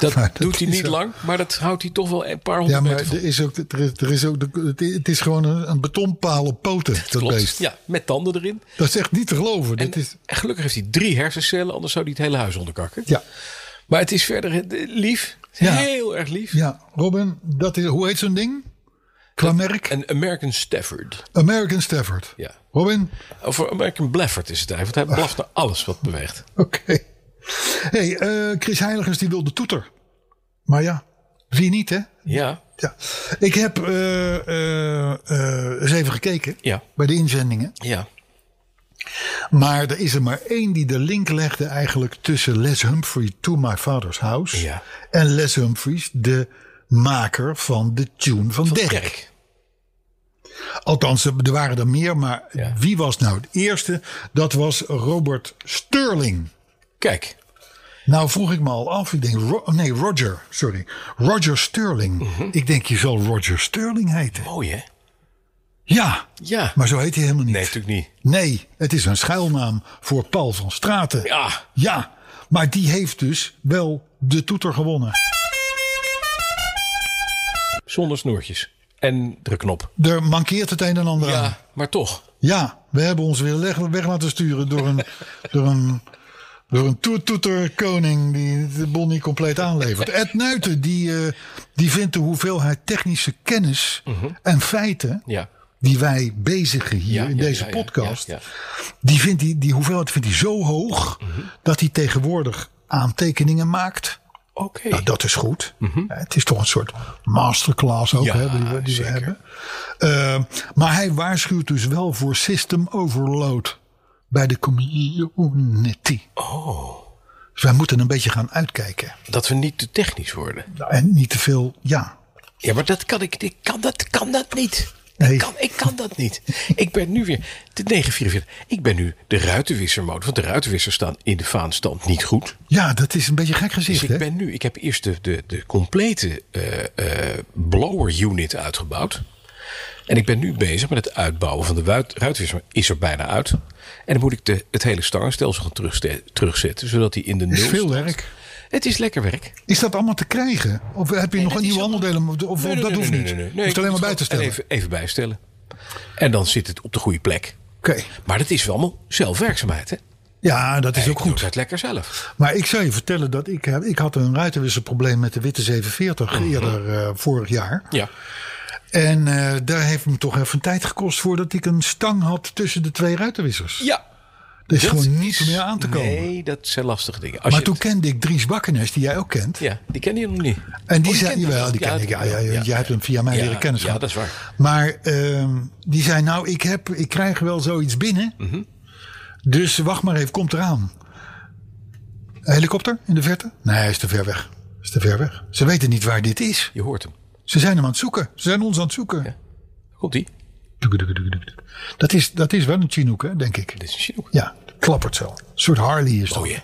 dat, Mhm. Maar dat doet hij is niet wel- lang, maar dat houdt hij toch wel een paar honderd Ja, maar meter vol. er is ook, er is, er is ook, het is gewoon een, een betonpaal op poten, dat, Klopt. beest. Ja, met tanden erin. Dat is echt niet te geloven. En, Dit is, en gelukkig heeft hij drie hersencellen, anders zou hij het hele huis onderkakken. ja. Maar het is verder eh, lief. Ja. Heel erg lief. ja, Robin, dat is, hoe heet zo'n ding? Qua merk? Een American Stafford. American Stafford. Ja. Robin? Of een American Blafford is het eigenlijk. Want hij blaft naar alles wat beweegt. Oké. hey, eh, Chris Heiligers die wil de toeter. Maar ja, zie je niet hè? Ja. Ja. Ik heb eh, eh, eh, eens even gekeken Ja. bij de inzendingen. Ja. Maar er is er maar één die de link legde eigenlijk tussen Les Humphrey to My Father's House. Ja. En Les Humphreys, de maker van de tune van, Derk. Dirk. Althans, er er waren er meer, maar Ja. wie was nou het eerste? Dat was Robert Sterling. Kijk. Nou vroeg ik me al af, ik denk, Ro- oh nee Roger, sorry, Roger Sterling. Mhm. Ik denk, je zal Roger Sterling heten. Mooi Oh, hè? Ja, Ja. maar zo heet hij helemaal niet. Nee, natuurlijk niet. Nee, het is een schuilnaam voor Paul van Straten. Ja. Ja, maar die heeft dus wel de toeter gewonnen. Zonder snoertjes. En drukknop. Er mankeert het een en ander aan. Ja. Maar toch. Ja, we hebben ons weer leg- weg laten sturen door een, door een, door een toet- toeterkoning die de bon niet compleet aanlevert. Ed Nuiten die, eh, die vindt de hoeveelheid technische kennis en feiten Mhm. Ja. die wij bezigen hier Ja, in ja, deze ja, ja, podcast, ja, Mhm. Die, vindt die, die hoeveelheid vindt hij zo hoog dat hij tegenwoordig aantekeningen maakt. Oké. Nou, dat is goed. Het is toch een soort masterclass ook Mhm. Ja, hè, die, we, die we zeker. hebben. Eh, maar hij waarschuwt dus wel voor system overload bij de community. Oh. Dus wij moeten een beetje gaan uitkijken. Dat we niet te technisch worden. En niet te veel, ja. Ja, maar dat kan ik, ik kan dat, kan dat niet. Nee. Ik, kan, ik kan dat niet. Ik ben nu weer, de 944, ik ben nu de ruitenwissermode. Want de ruitenwissers staan in de vaanstand niet goed. Ja, dat is een beetje gek gezicht, Dus ik hè? ben nu, ik heb eerst de, de, de complete eh, eh, blower unit uitgebouwd. En ik ben nu bezig met het uitbouwen van de wuit- ruitwisser. Is er bijna uit. En dan moet ik de, het hele stangenstelsel gaan terugste- terugzetten. Zodat hij in de nul is veel staat. werk. Het is lekker werk. Is dat allemaal te krijgen? Of heb je nog een nieuwe aandelen? Of, of dat hoeft niet? Nee, nee, nee. Hoeft Ik alleen maar moet bij te gewoon stellen. Even, even bijstellen. En dan zit het op de goede plek. Oké. Maar dat is wel allemaal zelfwerkzaamheid. Hè? Ja, dat is ook Ik doe goed. het lekker zelf. Maar ik zou je vertellen dat ik, heb- ik had een ruitenwisselprobleem met de witte 740 eerder eh, vorig jaar. Mhm. Ja. En eh, daar heeft me toch even tijd gekost voordat ik een stang had tussen de twee ruitenwissers. ja. Er is Dat gewoon niet meer aan te komen. Nee, dat zijn lastige dingen. Als maar je toen het- kende ik Dries Bakkenes, die jij ook kent. Ja, die ken je nog niet. En die Oh, zei, kent hem jawel, wel. die ken ik. Ja, ja, ja, Jij hebt hem via mij Ja, leren kennis ja, gehad. dat is waar. Maar ehm, die zei, nou, ik, heb, ik krijg wel zoiets binnen. Mhm. Dus wacht maar even, komt eraan. Helikopter in de verte? Nee, hij is te ver weg. Is te ver weg. Ze weten niet waar dit is. Je hoort hem. Ze zijn hem aan het zoeken. Ze zijn ons aan het zoeken. Komt die? Dat, is, dat is wel een Chinook, hè, denk ik. Dit is een Chinook. Ja, klappert zo. Een soort Harley is dat. Oh, ja.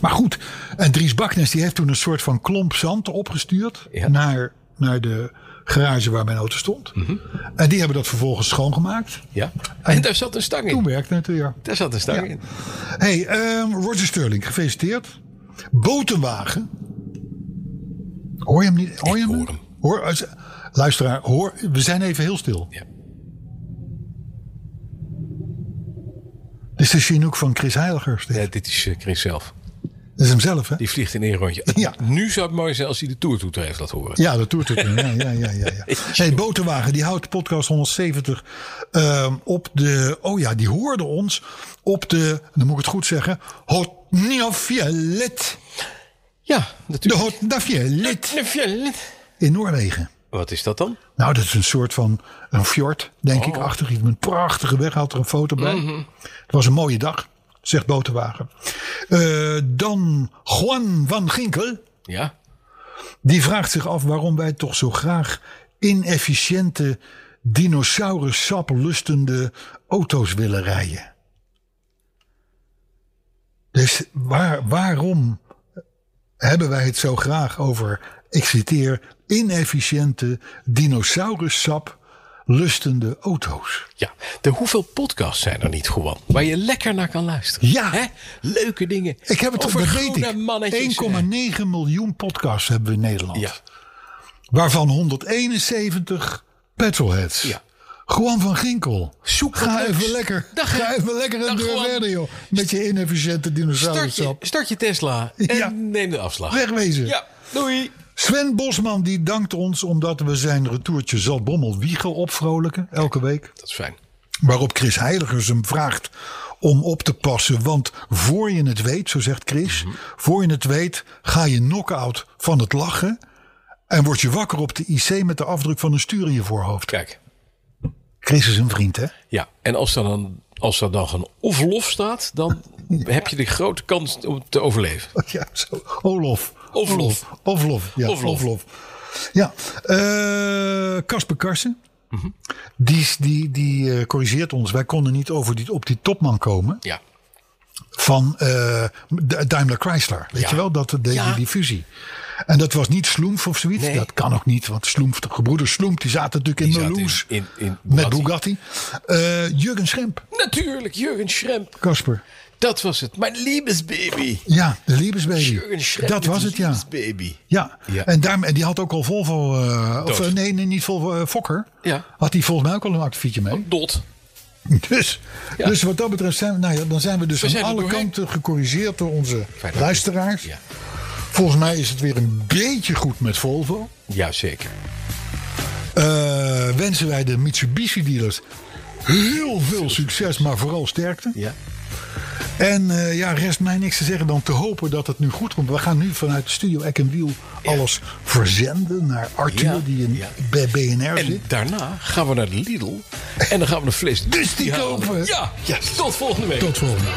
Maar goed, en Dries Baknes die heeft toen een soort van klomp zand opgestuurd Ja. naar, naar de garage waar mijn auto stond. Mhm. En die hebben dat vervolgens schoongemaakt. Ja. En daar zat een stang Toen in. werkte het weer. Daar zat een stang in. Hey, ehm, Roger Sterling, gefeliciteerd. Botenwagen. Hoor je hem niet? Hoor je Ik hem? hoor hem. Hoor, als- luisteraar, hoor, we zijn even heel stil. Ja. Dit is de Chinook van Chris Heiligers. dit. Ja, dit is eh, Chris zelf. Dat is hem zelf, hè? Die vliegt in één rondje. Ja. Nu zou het mooi zijn als hij de toertoeter heeft laten horen. Ja, dat doet het. nu. Ja, ja, ja, ja, ja. Hey, Boterwagen, die houdt podcast 170 ehm, op de... Oh ja, die hoorde ons op de... Dan moet ik het goed zeggen. Hot Violet. Ja, De natuurlijk. Hot Violet De violet. in Noorwegen. Wat is dat dan? Nou, dat is een soort van een fjord, denk ik, achter iets. Met een prachtige weg had er een foto bij. Het was een mooie dag, zegt Boterwagen. Eh, dan Juan van Ginkel. Ja. Die vraagt zich af waarom wij toch zo graag inefficiënte, dinosaurussap lustende auto's willen rijden. Dus waar, waarom hebben wij het zo graag over ik citeer, inefficiënte dinosaurussap lustende auto's. Ja, de hoeveel podcasts zijn er niet gewoon waar je lekker naar kan luisteren? Ja. Hè? Leuke dingen. Ik heb het over dat weet groene ik. mannetjes. 1,9 miljoen podcasts hebben we in Nederland. Ja. Waarvan 171 petrolheads. Ja. Gewoon van Ginkel. Zoek wat Ga leuks. even lekker. Dag, ga hè. even lekker een Dag, deur gewoon. verder, joh. Met je inefficiënte Start je, dinosaurussap. start je Tesla en Ja. neem de afslag. Wegwezen. Ja, doei. Sven Bosman die dankt ons omdat we zijn retourtje Zaltbommel Wiegen opvrolijken. Elke week. Dat is fijn. Waarop Chris Heiligers hem vraagt om op te passen. Want voor je het weet, zo zegt Chris, Mhm. voor je het weet ga je knock-out van het lachen. En word je wakker op de IC met de afdruk van een stuur in je voorhoofd. Kijk, Chris is een vriend, hè? ja. En als er dan, als er dan een of-lof staat, dan heb je de grote kans om te overleven. Oh, Ja, zo. Olof. Oflof. Oflof. Ja, Oflof. Oflof. Ja. eh, Casper Karsen. Mhm. Die, die, die eh, corrigeert ons. Wij konden niet over die, op die topman komen Ja. van eh, D- Daimler Chrysler. Weet Ja. je wel, dat de, Ja. die fusie. En dat was niet Sloemf of zoiets. Nee. Dat kan ook niet, want Sloemf, de gebroeders Sloemf, die zaten natuurlijk Die in zaten Meloes in- in- in met Bugatti. Bugatti. Eh Jurgen Schemp, Natuurlijk, Jurgen Schremp. Casper. Dat was het. Mijn liebesbaby. Ja, de Liebesbaby. Jurgen Schremp. Dat was de het, ja. Liebesbaby. Ja, Ja. En, daar, en die had ook al Volvo. eh, of, Dood. eh, nee, nee, niet Volvo, eh, Fokker. Ja. Had die volgens mij ook al een actiefje mee. Dot. Dus, Ja. dus wat dat betreft zijn we, nou ja, dan zijn we dus We zijn aan er alle doorheen. kanten gecorrigeerd door onze Fijn, dank je. luisteraars. Ja. Volgens mij is het weer een beetje goed met Volvo. Jazeker. Eh, wensen wij de Mitsubishi dealers heel veel succes, maar vooral sterkte. Ja. En eh, ja, rest mij niks te zeggen dan te hopen dat het nu goed komt. We gaan nu vanuit Studio Eck Wiel alles verzenden naar Arthur, Ja, die in, ja. bij BNR zit. En daarna gaan we naar de Lidl. En dan gaan we de fles. Dus die halen. kopen. Ja. Yes. Tot volgende week. Tot volgende.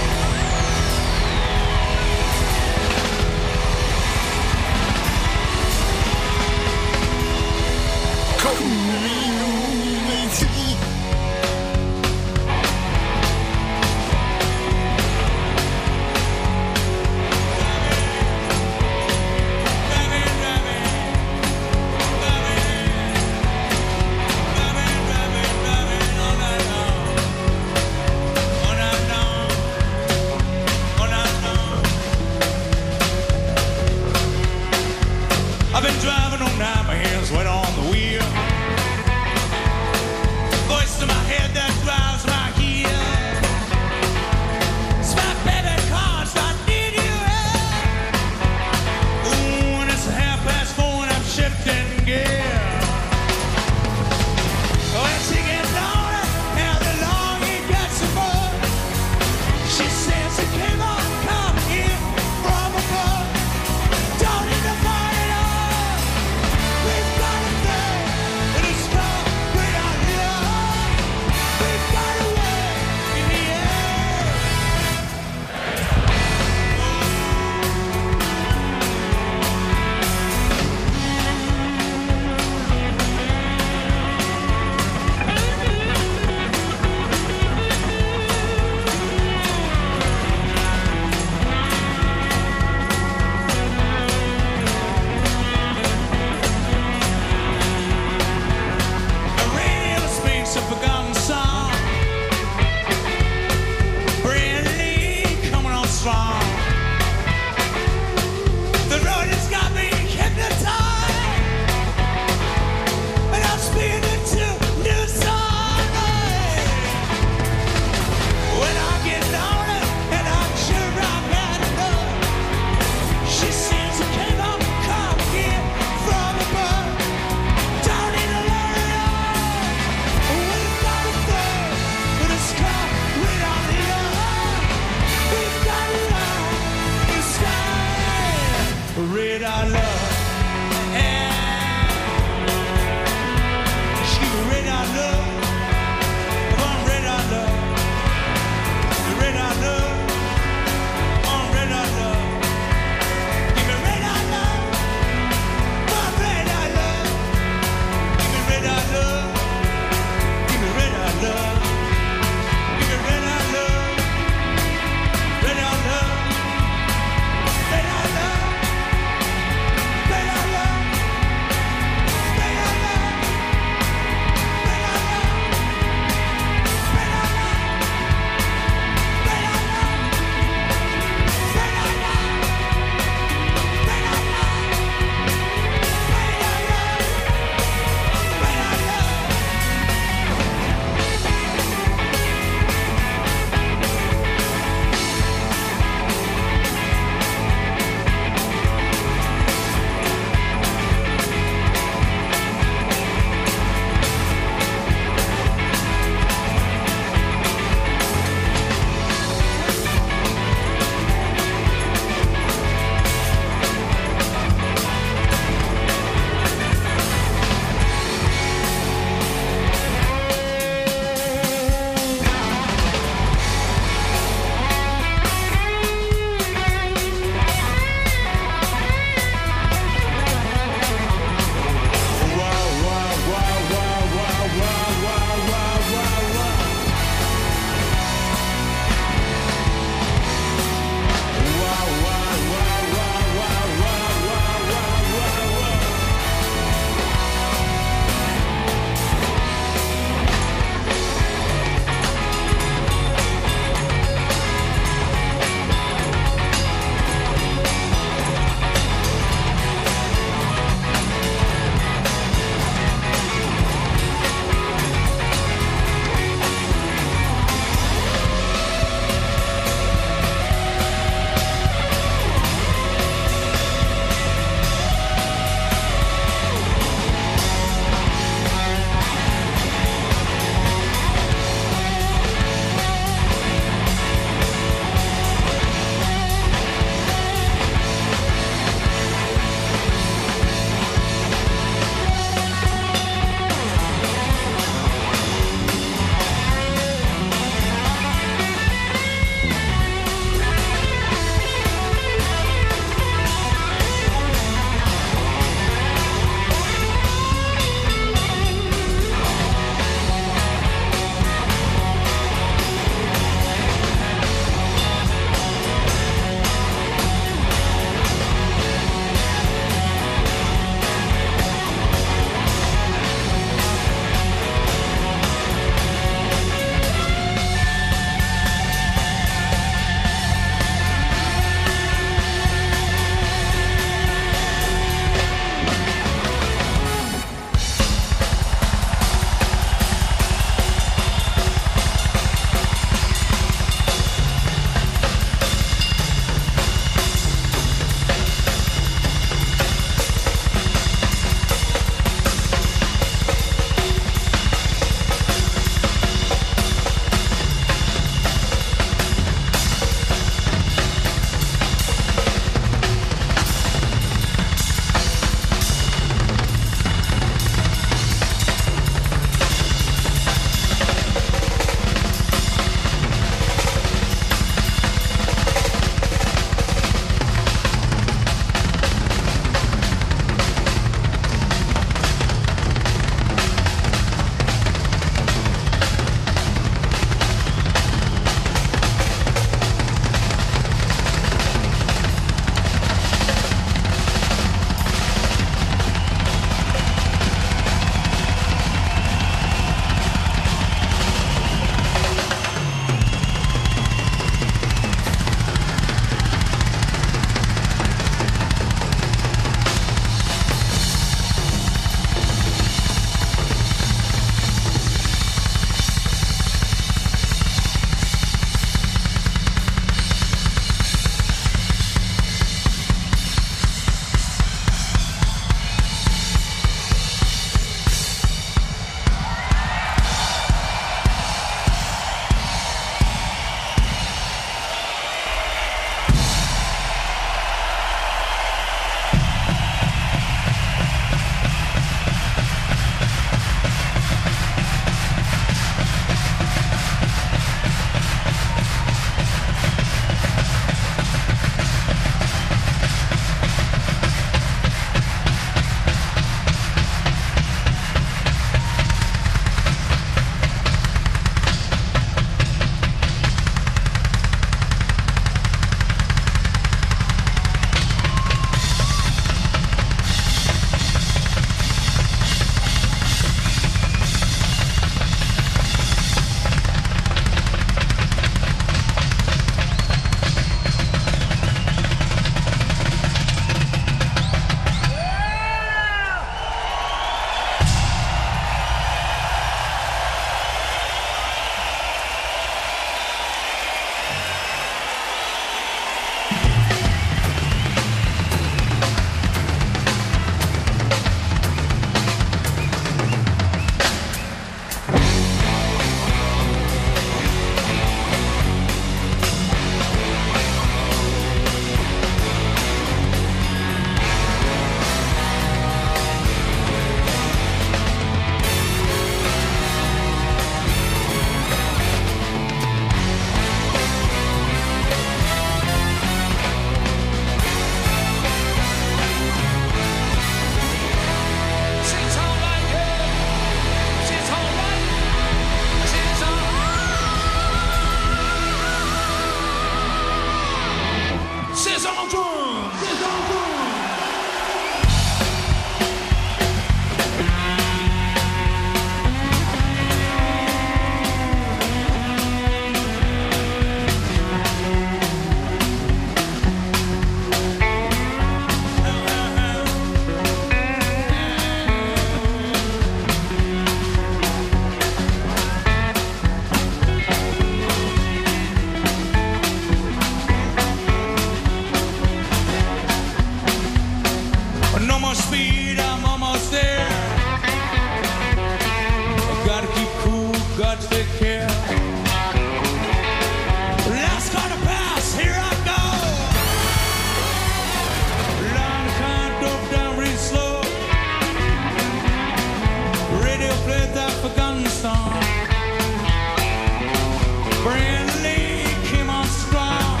Brandy came on strong.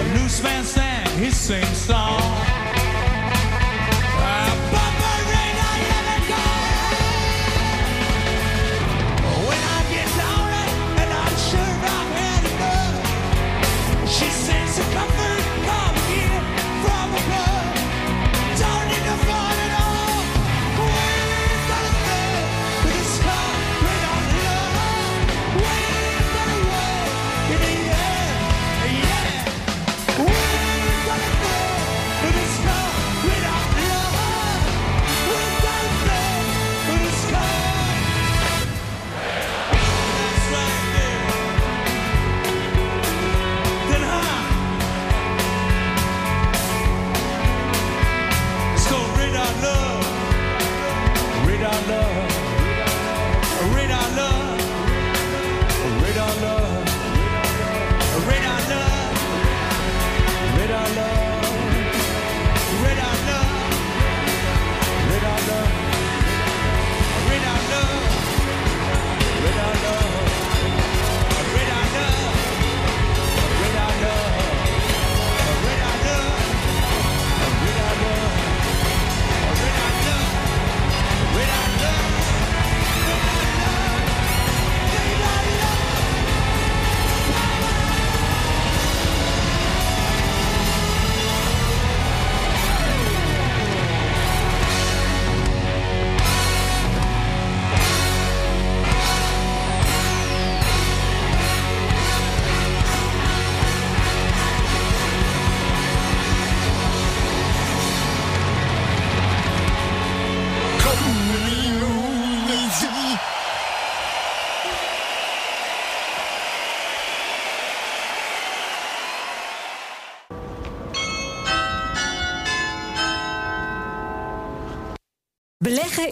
A newsman sang his same song. Ah, Papa Rain, I haven't gone. When I get lonely and I'm sure I've had enough, she sends a comfort from here, from above. Don't need to fall at all. Where's the love? With this carpet on love. Where's the love in the air? Yeah. Where's the love? With this carpet on love. Where's the love? With this carpet. It's like this. Then how? It's called Radar Love. Radar Love. Radar Love. Radar Love. Radar Love. Radar Love. Radar Love. Radar Love. Radar Love. Radar Love. Radar Love. Radar Love. Radar Love. Beleggen